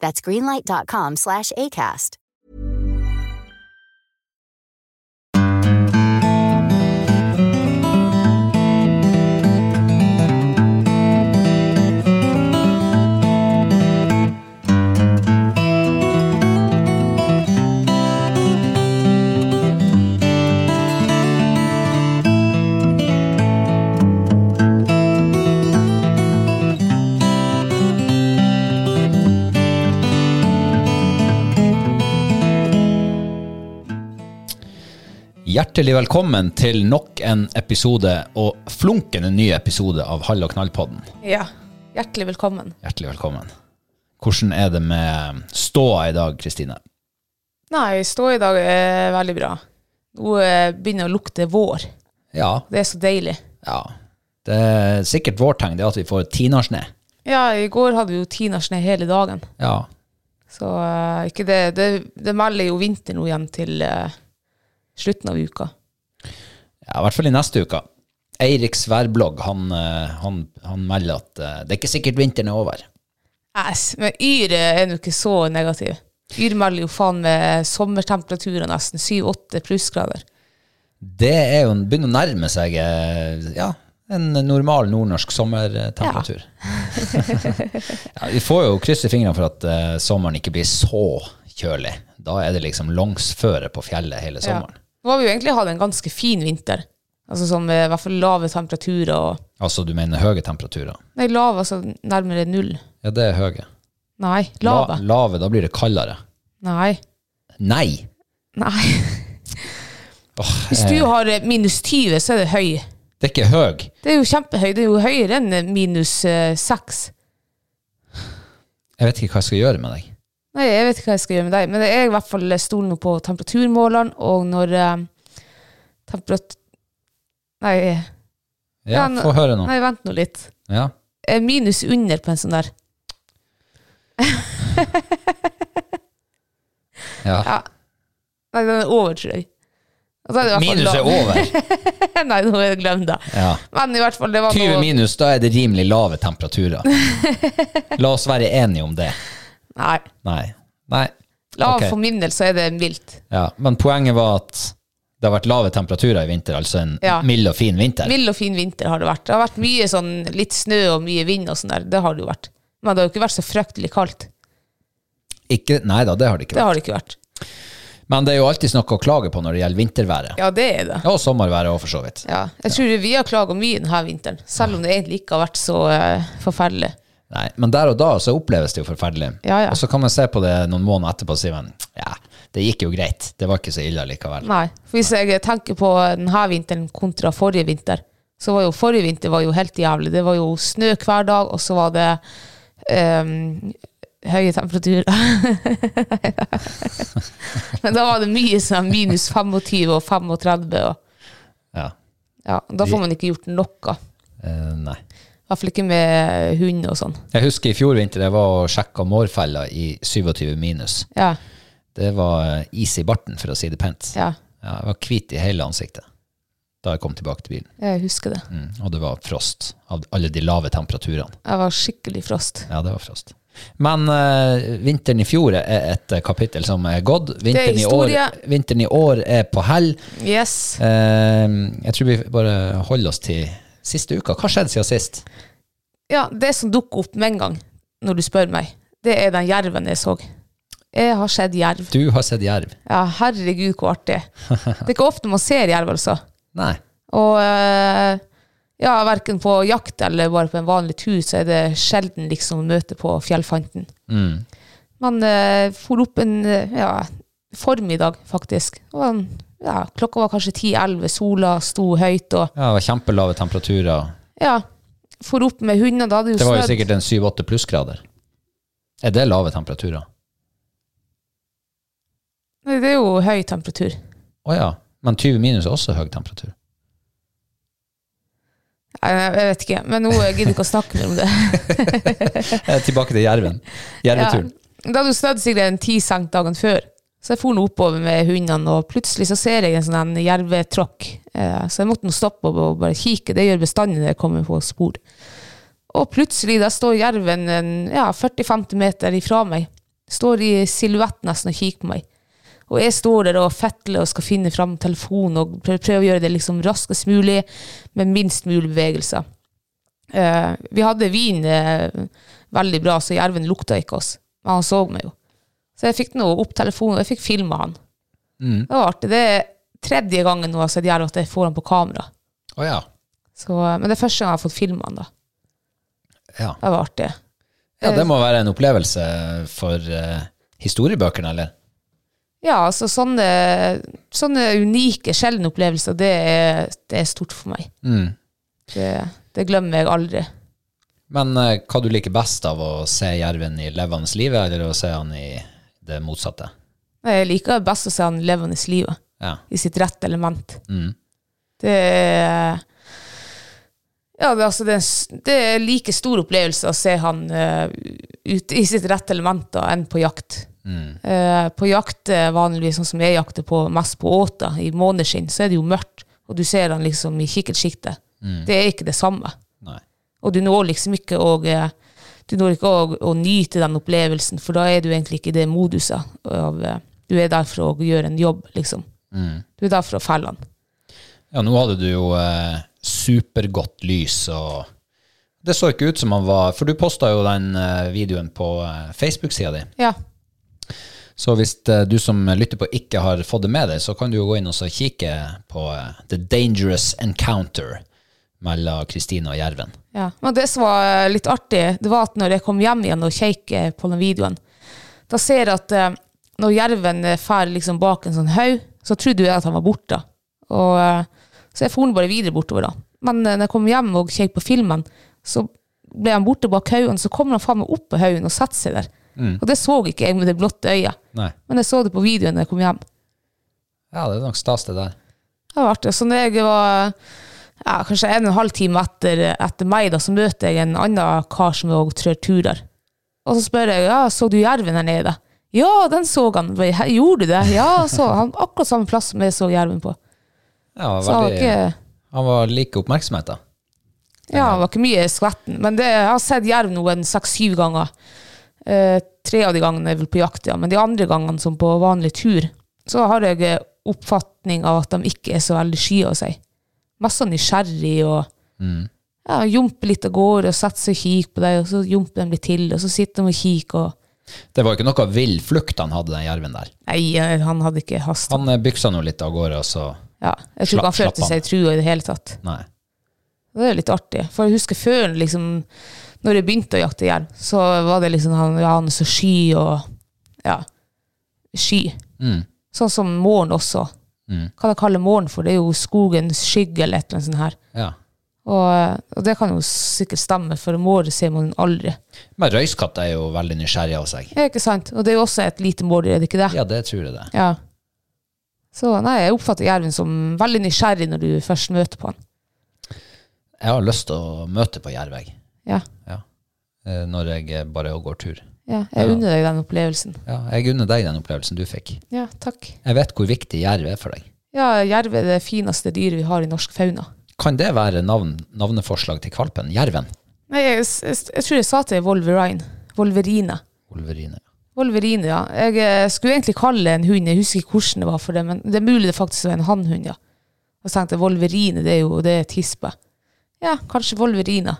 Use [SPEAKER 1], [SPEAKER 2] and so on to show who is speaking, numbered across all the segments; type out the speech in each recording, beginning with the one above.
[SPEAKER 1] That's greenlight.com slash ACAST.
[SPEAKER 2] Hjertelig velkommen til nok en episode, og flunkende ny episode av Hall og knall-podden.
[SPEAKER 3] Ja. Hjertelig velkommen.
[SPEAKER 2] Hjertelig velkommen. Hvordan er det med ståa i dag, Kristine?
[SPEAKER 3] Nei, stå i dag er veldig bra. Nå eh, begynner det å lukte vår.
[SPEAKER 2] Ja.
[SPEAKER 3] Det er så deilig.
[SPEAKER 2] ja. Det er sikkert vårt tegn, det er at vi får tinarsne.
[SPEAKER 3] Ja, i går hadde vi jo tinasjne hele dagen.
[SPEAKER 2] Ja.
[SPEAKER 3] Så eh, ikke det, det Det melder jo vinter nå igjen til eh, slutten av uka.
[SPEAKER 2] ja. I hvert fall i neste uke. Eiriks værblogg, han, eh, han, han melder at eh, det er ikke sikkert vinteren er over.
[SPEAKER 3] Æs, men Yr eh, er nå ikke så negativ. Yr melder jo faen med sommertemperaturer nesten. 7-8 plussgrader.
[SPEAKER 2] Det er jo, begynner å nærme seg eh, ja, en normal nordnorsk sommertemperatur. Ja. vi får jo krysse fingrene for at eh, sommeren ikke blir så kjølig. Da er det liksom langsføre på fjellet hele
[SPEAKER 3] Ja.
[SPEAKER 2] sommeren.
[SPEAKER 3] Nå har vi jo egentlig hatt en ganske fin vinter. Altså sånn med i hvert fall lave temperaturer og
[SPEAKER 2] Altså du mener høye temperaturer?
[SPEAKER 3] Nei, lave, altså nærmere null.
[SPEAKER 2] Ja, det er høye.
[SPEAKER 3] Nei,
[SPEAKER 2] La-
[SPEAKER 3] lave.
[SPEAKER 2] lave, da blir det kaldere.
[SPEAKER 3] Nei.
[SPEAKER 2] Nei!
[SPEAKER 3] Nei.
[SPEAKER 2] Åh,
[SPEAKER 3] Hvis du har eh, minus 20, så er det høy.
[SPEAKER 2] det er ikke høy.
[SPEAKER 3] Det er jo kjempehøy. Det er jo høyere enn eh, minus eh, 6.
[SPEAKER 2] Jeg vet ikke hva jeg skal gjøre med deg.
[SPEAKER 3] Nei, jeg vet ikke hva jeg skal gjøre med deg, men jeg er i hvert fall stol nå på temperaturmåleren, og når eh, temperat... Nei, eh,
[SPEAKER 2] Ja,
[SPEAKER 3] Ja, nå-
[SPEAKER 2] få høre nå.
[SPEAKER 3] nei, vent nå litt.
[SPEAKER 2] Ja.
[SPEAKER 3] Eh, Minus under på en sånn der.
[SPEAKER 2] Ja.
[SPEAKER 3] Ja. Nei, den er over, tror jeg. Og så er det i hvert fall
[SPEAKER 2] Minus er
[SPEAKER 3] lav.
[SPEAKER 2] over.
[SPEAKER 3] Nei, nå har jeg glemt det.
[SPEAKER 2] Ja.
[SPEAKER 3] Men i hvert fall, det var
[SPEAKER 2] 20
[SPEAKER 3] noe...
[SPEAKER 2] minus, da er det rimelig lave temperaturer. La oss være enige om det.
[SPEAKER 3] Nei,
[SPEAKER 2] Nei. Nei.
[SPEAKER 3] lav
[SPEAKER 2] Ok.
[SPEAKER 3] for min del så er det mildt.
[SPEAKER 2] Ja. Men poenget var at det har vært lave temperaturer i vinter, altså en
[SPEAKER 3] Ja.
[SPEAKER 2] mild og fin vinter.
[SPEAKER 3] Mild og fin vinter har det vært. Det har vært mye sånn litt snø og mye vind og sånn der. Det har det jo vært. Men det har jo ikke vært så fryktelig kaldt.
[SPEAKER 2] Ikke, nei da, det har det ikke
[SPEAKER 3] Det
[SPEAKER 2] vært.
[SPEAKER 3] har det ikke vært.
[SPEAKER 2] Men det er jo alltid noe å klage på når det gjelder vinterværet.
[SPEAKER 3] Ja, det er det.
[SPEAKER 2] Og sommerværet òg, for så vidt.
[SPEAKER 3] Ja. Jeg tror vi har klaga mye denne vinteren, selv om det egentlig ikke har vært så eh, forferdelig.
[SPEAKER 2] Nei, men der og da så oppleves det jo forferdelig.
[SPEAKER 3] Ja, ja.
[SPEAKER 2] Og så kan man se på det noen måneder etterpå og si men, ja, det gikk jo greit. Det var ikke så ille likevel.
[SPEAKER 3] Nei. For hvis jeg tenker på denne vinteren kontra forrige vinter, så var jo forrige vinter var jo helt jævlig. Det var jo snø hver dag, og så var det ehm, høye temperaturer. Men da var det mye sånn minus 25 og 35 og
[SPEAKER 2] Ja.
[SPEAKER 3] Ja, da får man ikke gjort noe.
[SPEAKER 2] Eh, nei.
[SPEAKER 3] I hvert fall ikke med hund og sånn.
[SPEAKER 2] Jeg husker i fjor vinter jeg var og sjekka mårfella i 27 minus.
[SPEAKER 3] Ja,
[SPEAKER 2] Det var eh, is i barten, for å si det pent.
[SPEAKER 3] ja,
[SPEAKER 2] Ja, jeg var hvit i hele ansiktet da jeg kom tilbake til bilen.
[SPEAKER 3] jeg husker det.
[SPEAKER 2] Mm. Og det var frost av alle de lave temperaturene.
[SPEAKER 3] Jeg var skikkelig frost.
[SPEAKER 2] Ja, det var frost. Men eh, vinteren i fjor er et eh, kapittel som er gått. Vinteren, i år-
[SPEAKER 3] historie.
[SPEAKER 2] vinteren i år er på hell.
[SPEAKER 3] Yes.
[SPEAKER 2] Eh, jeg tror vi bare holder oss til siste uka. Hva skjedde siden sist?
[SPEAKER 3] Ja, det som dukker opp med en gang når du spør meg, det er den jerven jeg så. Jeg har sett jerv.
[SPEAKER 2] Du har sett jerv.
[SPEAKER 3] Ja, herregud, hvor artig. Det er ikke ofte man ser jerv, altså.
[SPEAKER 2] Nei.
[SPEAKER 3] Og eh, ja, verken på jakt eller bare på en vanlig tur, så er det sjelden liksom møte på fjellfanten.
[SPEAKER 2] Mm.
[SPEAKER 3] Man uh, for opp en eh, ja, formiddag, faktisk. Og, han- ja, klokka var kanskje 10-11, sola sto høyt, og
[SPEAKER 2] Ja, det var kjempelave temperaturer.
[SPEAKER 3] ja, for opp med hunder, da hadde jo
[SPEAKER 2] Det var jo
[SPEAKER 3] snødd.
[SPEAKER 2] sikkert en 7-8 plussgrader. Er det lave temperaturer?
[SPEAKER 3] Nei, Det er jo høy temperatur.
[SPEAKER 2] Å ja. Men 20 minus er også høy temperatur.
[SPEAKER 3] Nei, Jeg jeg vet ikke, men nå gidder jeg ikke å snakke mer om det.
[SPEAKER 2] Eh, tilbake til jerven. Jerveturen.
[SPEAKER 3] Ja. Da hadde hun snødd sikkert en ti senk dagen før. Så jeg for nå oppover med hundene, og plutselig så ser jeg en sånn en jervetråkk. Eh, Så jeg måtte nå stoppe opp og bare kikke. Det gjør bestandig når jeg kommer på spor. Og plutselig da står jerven en, ja, 40-50 meter ifra meg. Står i silhuett nesten og kikker på meg. Og jeg står der og fetler og skal finne fram telefonen og prø- prøver å gjøre det liksom raskest mulig med minst mulig bevegelser. Eh, vi hadde vin eh, veldig bra, så jerven lukta ikke oss. Men han så meg jo. Så jeg fikk nå opp telefonen, og jeg fikk filma han. Det var artig. Det er tredje gangen nå jeg har sett jerv at jeg får han på kamera.
[SPEAKER 2] Å ja.
[SPEAKER 3] Så, eh, men det er første gang jeg har fått filma han, da.
[SPEAKER 2] ja.
[SPEAKER 3] Det var artig.
[SPEAKER 2] Ja, det må være en opplevelse for eh, historiebøkene, eller?
[SPEAKER 3] Ja, altså sånne, sånne unike, sjeldne opplevelser, det er, det er stort for meg. Det, det glemmer jeg aldri.
[SPEAKER 2] Men eh, hva du liker best av å se jerven i levende livet, eller å se han i det motsatte?
[SPEAKER 3] Jeg liker best å se han levende i livet.
[SPEAKER 2] Ja.
[SPEAKER 3] i sitt rette element.
[SPEAKER 2] Mm.
[SPEAKER 3] Det er ja, det, er altså, det, er, en s- det er like stor opplevelse å se han eh, ute i sitt rette element da, enn på jakt.
[SPEAKER 2] Mm.
[SPEAKER 3] Eh, på jakt, eh, vanligvis sånn som jeg jakter på, mest på åta, i måneskinn, så er det jo mørkt, og du ser han liksom i kikkertsjiktet.
[SPEAKER 2] Mm.
[SPEAKER 3] Det er ikke det samme.
[SPEAKER 2] Nei.
[SPEAKER 3] Og du når liksom ikke å eh, du når ikke å, å nyte den opplevelsen, for da er du egentlig ikke i det moduset. Av, eh, du er der for å gjøre en jobb, liksom. Du er der for å felle han.
[SPEAKER 2] Ja, nå hadde du jo eh, supergodt lys, og det så ikke ut som han var For du posta jo den eh, videoen på eh, Facebook-sida di.
[SPEAKER 3] Ja.
[SPEAKER 2] Så hvis eh, du som lytter på ikke har fått det med deg, så kan du jo gå inn og så kikke på eh, The Dangerous Encounter mellom Kristine og Jerven.
[SPEAKER 3] ja. Men det som var eh, litt artig, det var at når jeg kom hjem igjen og kjekket på den videoen, da ser jeg at eh, når jerven eh, fær liksom bak en sånn haug, så trodde jeg at han var borte. Og, eh, så jeg for han bare videre bortover da. Men eh, når jeg kom hjem og kjekket på filmen, så ble han borte bak haugen, så kommer han faen meg opp på haugen og setter seg der. Og det så ikke jeg med det blotte øyet.
[SPEAKER 2] Nei.
[SPEAKER 3] Men jeg så det på videoen når jeg kom hjem.
[SPEAKER 2] Ja, det er nok stas, det der.
[SPEAKER 3] Det var artig. Så når jeg var ja, kanskje en og en halv time etter, etter meg, da, så møter jeg en annen kar som også trør turer. Og så spør jeg ja, så du jerven her nede. Ja, den så han. Bare, «Hæ, Gjorde du det? Ja, så han akkurat samme plass som jeg så jerven på.
[SPEAKER 2] Ja,
[SPEAKER 3] Så han var
[SPEAKER 2] veldig,
[SPEAKER 3] ikke,
[SPEAKER 2] han var like oppmerksomhet, da.
[SPEAKER 3] ja, han var ikke mye skvetten. Men det, jeg har sett jerv nå en seks-syv ganger. Eh, tre av de gangene er vel på jakt, ja. Men de andre gangene, som på vanlig tur, så har jeg eh, oppfatning av at de ikke er så veldig sky av seg. Masse nysgjerrig og
[SPEAKER 2] Mm.
[SPEAKER 3] ja, jumper litt av gårde og setter seg og kikker på deg, og så jumper de litt til, og så sitter de og kikker og
[SPEAKER 2] Det var ikke noe vill flukt han hadde, den jerven der.
[SPEAKER 3] Nei, eh, han hadde ikke hast.
[SPEAKER 2] Han eh, byksa nå litt av gårde, og så
[SPEAKER 3] Ja, jeg tror ikke
[SPEAKER 2] Slapp-
[SPEAKER 3] han
[SPEAKER 2] slapp
[SPEAKER 3] følte seg trua i det hele tatt.
[SPEAKER 2] Nei.
[SPEAKER 3] Det er litt artig. For jeg husker før, liksom, når jeg begynte å jakte jerv, så var det liksom han, ja, han er så sky og Ja. Sky.
[SPEAKER 2] Mm,
[SPEAKER 3] Sånn som morgen også. Hva de kaller morgen for? Det er jo skogens skygge eller et eller annet sånt her.
[SPEAKER 2] Ja.
[SPEAKER 3] Og, og det kan jo sikkert stemme, for måre ser man aldri.
[SPEAKER 2] Men røyskatt er jo veldig nysgjerrig av seg.
[SPEAKER 3] Ja, ikke sant? Og det er jo også et lite mårdyr, er det ikke det?
[SPEAKER 2] Ja, det tror jeg det.
[SPEAKER 3] Ja. Så nei, jeg oppfatter jerven som veldig nysgjerrig når du først møter på han.
[SPEAKER 2] Jeg har lyst til å møte på jerv, jeg.
[SPEAKER 3] Ja.
[SPEAKER 2] Ja. Eh, Når jeg bare går tur.
[SPEAKER 3] ja. Jeg unner deg den opplevelsen.
[SPEAKER 2] Ja, jeg unner deg den opplevelsen du fikk.
[SPEAKER 3] Ja, takk.
[SPEAKER 2] Jeg vet hvor viktig jerv er for deg.
[SPEAKER 3] Ja, jerv er det fineste dyret vi har i norsk fauna.
[SPEAKER 2] Kan det være navn, navneforslag til kvalpen? Jerven?
[SPEAKER 3] Nei, jeg, s- jeg, s- jeg tror jeg sa til Wolverine. Wolverine.
[SPEAKER 2] Olverine.
[SPEAKER 3] Wolverine, ja. Jeg eh, skulle egentlig kalle det en hund, jeg husker ikke hvordan det var for det, men det er mulig det faktisk var en hannhund, ja. Og så tenkte jeg Wolverine, det er jo det er tispe. Ja, kanskje Wolverine.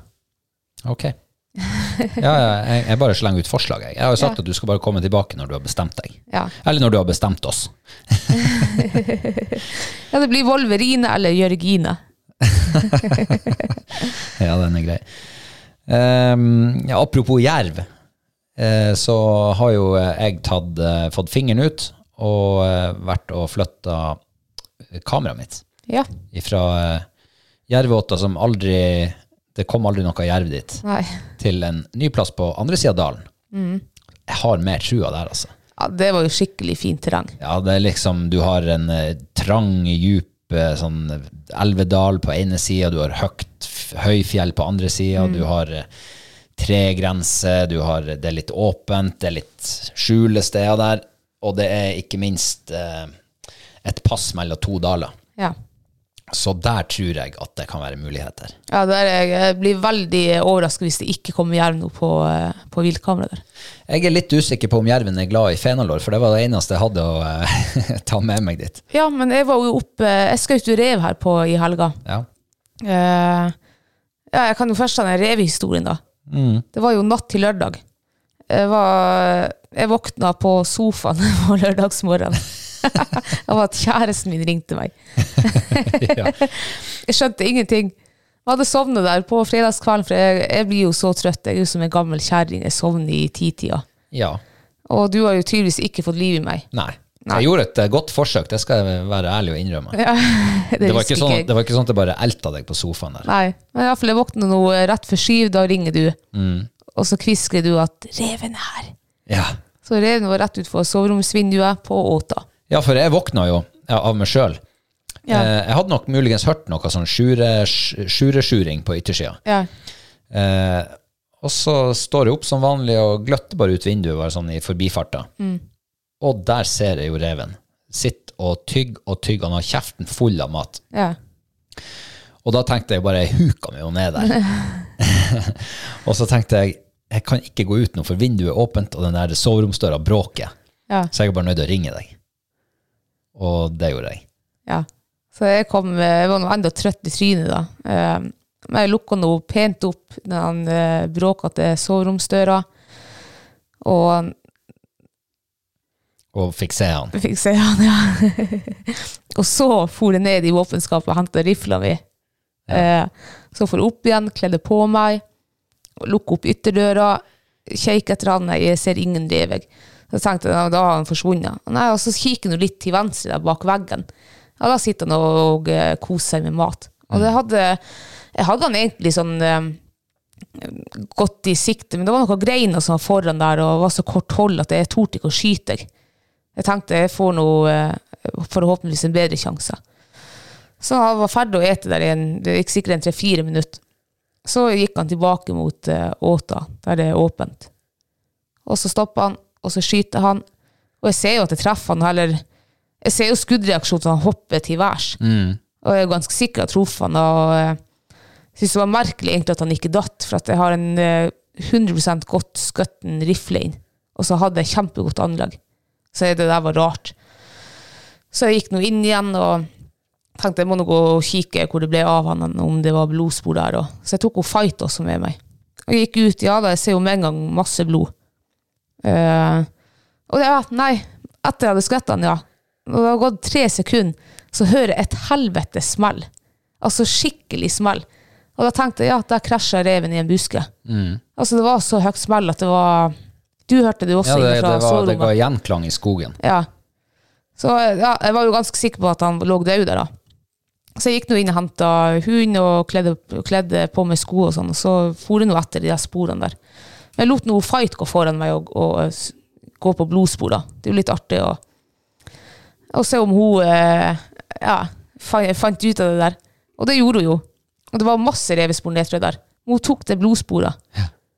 [SPEAKER 2] Ok. Ja, ja, jeg, jeg bare slenger ut forslag. Jeg, jeg har jo sagt
[SPEAKER 3] Ja.
[SPEAKER 2] at du skal bare komme tilbake når du har bestemt deg.
[SPEAKER 3] Ja.
[SPEAKER 2] Eller når du har bestemt oss.
[SPEAKER 3] ja, det blir Wolverine eller Jørgine.
[SPEAKER 2] Ja, den er grei. Ehm, ja, apropos jerv, eh, så har jo eh, jeg tatt, eh, fått fingeren ut og eh, vært og flytta kameraet mitt
[SPEAKER 3] Ja,
[SPEAKER 2] fra eh, jervåta som aldri Det kom aldri noe jerv dit,
[SPEAKER 3] nei.
[SPEAKER 2] til en ny plass på andre sida av dalen. Jeg har mer trua der, altså.
[SPEAKER 3] Ja, det var jo skikkelig fint terreng.
[SPEAKER 2] Ja, det er liksom Du har en eh, trang, djup eh, sånn elvedal på ene sida, du har høyt, f- høyfjell på andre sida, du har eh, tregrense, du har Det er litt åpent, det er litt skjulesteder der, og det er ikke minst eh, et pass mellom to daler.
[SPEAKER 3] Ja.
[SPEAKER 2] Så der tror jeg at det kan være muligheter.
[SPEAKER 3] Ja, der jeg, jeg blir veldig overrasket hvis det ikke kommer jerv nå på, eh, på viltkamera der.
[SPEAKER 2] Jeg er litt usikker på om jerven er glad i fenalår, for det var det eneste jeg hadde å eh, ta med meg dit.
[SPEAKER 3] Ja, men jeg var jo oppe, jeg skjøt jo rev her på, i helga.
[SPEAKER 2] Ja.
[SPEAKER 3] Eh, ja, jeg kan jo først ta den revehistorien, da.
[SPEAKER 2] Mm.
[SPEAKER 3] Det var jo natt til lørdag. Jeg, var, jeg våkna på sofaen på lørdagsmorgenen. Av at kjæresten min ringte meg. jeg skjønte ingenting. Jeg hadde sovna der på fredagskvelden, for jeg, jeg blir jo så trøtt. Jeg er jo som en gammel kjerring. Jeg sovner i titida.
[SPEAKER 2] ja.
[SPEAKER 3] Og du har jo tydeligvis ikke fått liv i meg.
[SPEAKER 2] Nei.
[SPEAKER 3] Nei.
[SPEAKER 2] Jeg gjorde et eh, godt forsøk, det skal jeg være ærlig og innrømme.
[SPEAKER 3] Det,
[SPEAKER 2] Det var,
[SPEAKER 3] husker
[SPEAKER 2] ikke sånn,
[SPEAKER 3] jeg.
[SPEAKER 2] det var ikke sånn at jeg bare elta deg på sofaen der.
[SPEAKER 3] Nei, men iallfall jeg våkner nå eh, rett før syv, da ringer du. Og så kvisker du at 'reven er her'.
[SPEAKER 2] Ja.
[SPEAKER 3] Så reven var rett utfor soveromsvinduet på Åta.
[SPEAKER 2] ja, for jeg våkna jo ja, av meg sjøl.
[SPEAKER 3] Ja.
[SPEAKER 2] Eh, jeg hadde nok muligens hørt noe sånn sjure- sj- sjure-sjuring på yttersida.
[SPEAKER 3] Ja.
[SPEAKER 2] Eh, og så står jeg opp som vanlig og gløtter bare ut vinduet bare sånn i forbifarta.
[SPEAKER 3] Mm.
[SPEAKER 2] Og der ser jeg jo reven. Sitter og tygger og tygger. Han har kjeften full av mat.
[SPEAKER 3] ja.
[SPEAKER 2] Og da tenkte jeg bare, jeg huka meg jo ned der. og så tenkte jeg, jeg kan ikke gå ut nå, for vinduet er åpent, og den der soveromsdøra bråker.
[SPEAKER 3] Ja.
[SPEAKER 2] Så jeg er bare nødt til å ringe deg. Og det gjorde jeg.
[SPEAKER 3] ja. Så jeg kom eh, Jeg var nå enda trøtt i trynet, da. Eh, Men jeg lukka nå pent opp den eh, bråkete soveromsdøra. Og
[SPEAKER 2] Og fikk se han.
[SPEAKER 3] jeg fikk se han, ja. og så for jeg ned i våpenskapet og henta rifla mi. Eh, Så for jeg opp igjen, kledde på meg, lukke opp ytterdøra, kjekk etter han, nei, jeg ser ingen rev. jeg. Så tenkte jeg, "Nei, da har han forsvunnet. Nei, og så kikker jeg nå litt til venstre der bak veggen. Ja, da sitter han og eh, koser seg med mat. Og det hadde, jeg hadde han egentlig sånn eh, godt i sikte, men det var noen greiner som var foran der, og var så kort hold at jeg torde ikke å skyte. jeg. Jeg tenkte jeg får noe, eh, forhåpentligvis en bedre sjanse. Så han var ferdig å ete der i en, det gikk sikkert en tre-fire minutter. Så gikk han tilbake mot eh, åta, der det er åpent. Og så stopper han, og så skyter han. Og jeg ser jo at jeg treffer han, eller jeg ser jo skuddreaksjonen, så han hopper til værs. Og jeg er ganske sikker at jeg traff han, og eh, synes det var merkelig egentlig at han ikke datt, for at jeg har en eh, 100 godt skøtten rifle inn. Og så hadde jeg kjempegodt anlegg. Så det der var rart. Så jeg gikk nå inn igjen og tenkte jeg må nå gå og kikke hvor det ble av han, om det var blodspor der. Og. Så jeg tok og fight også med meg. Og jeg gikk ut, ja da, jeg ser jo med en gang masse blod. Eh, og ja, nei, etter jeg hadde skvett han, ja, og det har gått tre sekunder, så hører jeg et helvete smell. Altså skikkelig smell. Og da tenkte jeg, ja, der krasja reven i en buske.
[SPEAKER 2] Mm.
[SPEAKER 3] Altså det var så høyt smell at det var... Du hørte det
[SPEAKER 2] Ja,
[SPEAKER 3] jo også
[SPEAKER 2] det,
[SPEAKER 3] innenfra
[SPEAKER 2] det, var, det
[SPEAKER 3] soverommet.
[SPEAKER 2] ga gjenklang i skogen.
[SPEAKER 3] Ja. Så ja, jeg var jo ganske sikker på at han lå død der, da. Så jeg gikk nå inn og henta hund og kledde, kledde på meg sko og sånn, og så for jeg nå etter de der sporene der. Men jeg lot nå Fight gå foran meg og, og eh, s- gå på blodspor, da. Det er jo litt artig å, å se om hun eh, ja, fant, fant ut av det der. Og det gjorde hun jo. Og det var masse revespor nedstrødd der. Hun tok det blodsporet.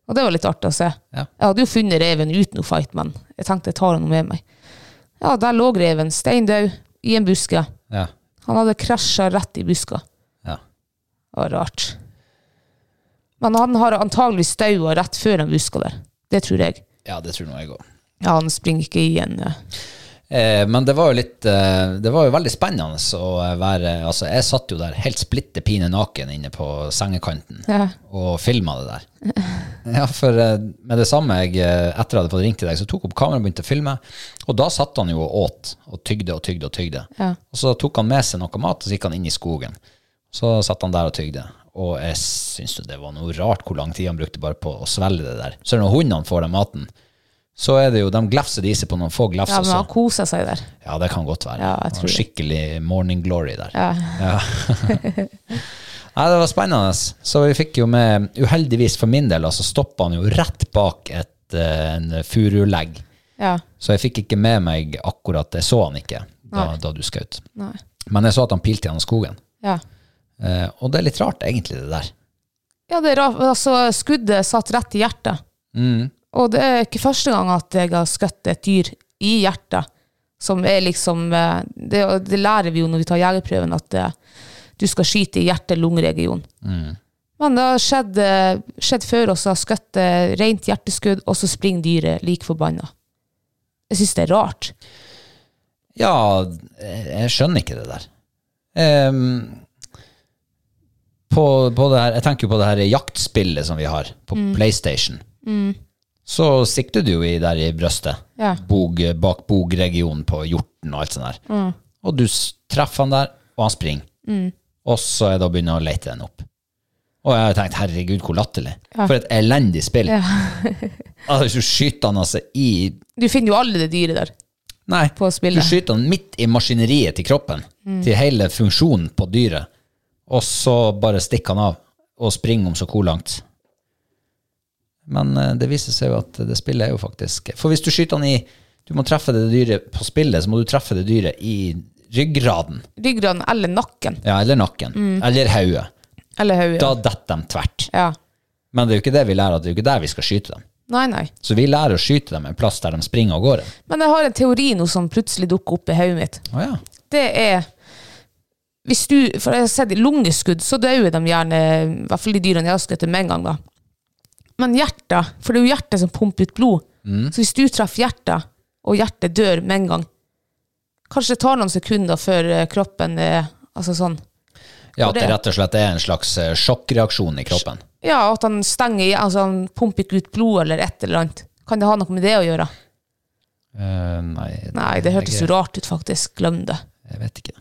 [SPEAKER 3] Og det var litt artig å se.
[SPEAKER 2] Ja.
[SPEAKER 3] Jeg hadde jo funnet reven uten noe fight, men jeg tenkte jeg tar henne med meg. Ja, der lå reven, stein død, i en buske.
[SPEAKER 2] Ja.
[SPEAKER 3] Han hadde krasja rett i buska.
[SPEAKER 2] Ja.
[SPEAKER 3] Det var rart. Men han har antagelig staua rett før han buska der. Det tror jeg.
[SPEAKER 2] ja, det tror nå jeg òg.
[SPEAKER 3] Ja, han springer ikke i en eh,
[SPEAKER 2] Eh, men det var jo litt eh, Det var jo veldig spennende å være Altså, jeg satt jo der helt splitter pine naken inne på sengekanten
[SPEAKER 3] Ja.
[SPEAKER 2] og filma det der. Ja, for eh, med det samme jeg eh, etter jeg hadde fått ringt til deg, så tok jeg opp kameraet og begynte å filme. Og da satt han jo og åt og tygde og tygde og tygde.
[SPEAKER 3] Ja.
[SPEAKER 2] Og så tok han med seg noe mat, og så gikk han inn i skogen. Så satt han der og tygde. Og jeg syns jo det var noe rart hvor lang tid han brukte bare på å svelge det der. Så når hundene får den maten, så er det jo, de glefser de seg på noen få glefs.
[SPEAKER 3] Ja,
[SPEAKER 2] og
[SPEAKER 3] men
[SPEAKER 2] så-
[SPEAKER 3] han koser seg der.
[SPEAKER 2] ja, det kan godt være.
[SPEAKER 3] Ja, jeg
[SPEAKER 2] Han
[SPEAKER 3] tror det.
[SPEAKER 2] Skikkelig morning glory der.
[SPEAKER 3] Ja.
[SPEAKER 2] Nei, det var spennende. Så vi fikk jo med Uheldigvis for min del, altså stoppa han jo rett bak et, eh, en furulegg.
[SPEAKER 3] ja.
[SPEAKER 2] Så jeg fikk ikke med meg akkurat Jeg så han ikke da, da du skjøt.
[SPEAKER 3] Nei.
[SPEAKER 2] Men jeg så at han pilte gjennom skogen.
[SPEAKER 3] Ja.
[SPEAKER 2] Eh, og det er litt rart, egentlig, det der.
[SPEAKER 3] ja, det er rart. Altså, skuddet satt rett i hjertet. Og det er ikke første gang at jeg har skutt et dyr i hjertet. Som er liksom eh, Det, det lærer vi jo når vi tar jegerprøven, at eh, du skal skyte i hjerte-lungeregion. Men det har skjedd, eh, skjedd før også, har skutt eh, rent hjerteskudd, og så springer dyret lik forbanna. Jeg syns det er rart.
[SPEAKER 2] Ja, jeg jeg skjønner ikke det der. Ehm, på, på det her, jeg tenker jo på det her jaktspillet som vi har på PlayStation. Så sikter du jo i der i brøstet,
[SPEAKER 3] Ja.
[SPEAKER 2] bog, bak bogregionen på hjorten og alt sånt der. Og du s- treffer han der, og han springer. Og så er det å begynne å lete den opp. Og jeg har tenkt, herregud, hvor latterlig. For et elendig spill. altså, hvis du skyter han altså i
[SPEAKER 3] Du finner jo alle det dyret der.
[SPEAKER 2] Nei,
[SPEAKER 3] på spillet.
[SPEAKER 2] du skyter den midt i maskineriet til kroppen, til hele funksjonen på dyret, og så bare stikker han av og springer om så hvor langt. Men eh, det viser seg jo at det spillet er jo faktisk For hvis du skyter han i Du må treffe det dyret på spillet, så må du treffe det dyret i ryggraden,
[SPEAKER 3] Ryggraden eller nakken.
[SPEAKER 2] ja, eller nakken, eller hodet.
[SPEAKER 3] Eller hodet.
[SPEAKER 2] Da detter de tvert.
[SPEAKER 3] Ja.
[SPEAKER 2] Men det er jo ikke det vi lærer, at det er jo ikke der vi skal skyte dem.
[SPEAKER 3] Nei, nei.
[SPEAKER 2] Så vi lærer å skyte dem en plass der de springer av gårde.
[SPEAKER 3] Men jeg har en teori nå som plutselig dukker opp i hodet mitt.
[SPEAKER 2] Å ja.
[SPEAKER 3] Det er hvis du, For jeg har sett i lungeskudd, så dør de gjerne I hvert fall de dyrene jeg har skutt med en gang. da. Men hjertet, for det er jo hjertet som pumper ut blod.
[SPEAKER 2] Mm.
[SPEAKER 3] Så hvis du treffer hjertet, og hjertet dør med en gang Kanskje det tar noen sekunder før eh, kroppen er altså sånn,
[SPEAKER 2] Ja, at
[SPEAKER 3] For
[SPEAKER 2] det
[SPEAKER 3] det-
[SPEAKER 2] rett og slett er en slags eh, sjokkreaksjon i kroppen.
[SPEAKER 3] Ja, at han stenger igjen, altså han pumper ikke ut blod eller et eller annet. Kan det ha noe med det å gjøre?
[SPEAKER 2] Eh, nei,
[SPEAKER 3] Nei, det hørtes jo rart ut, faktisk. Glem det.
[SPEAKER 2] Jeg vet ikke.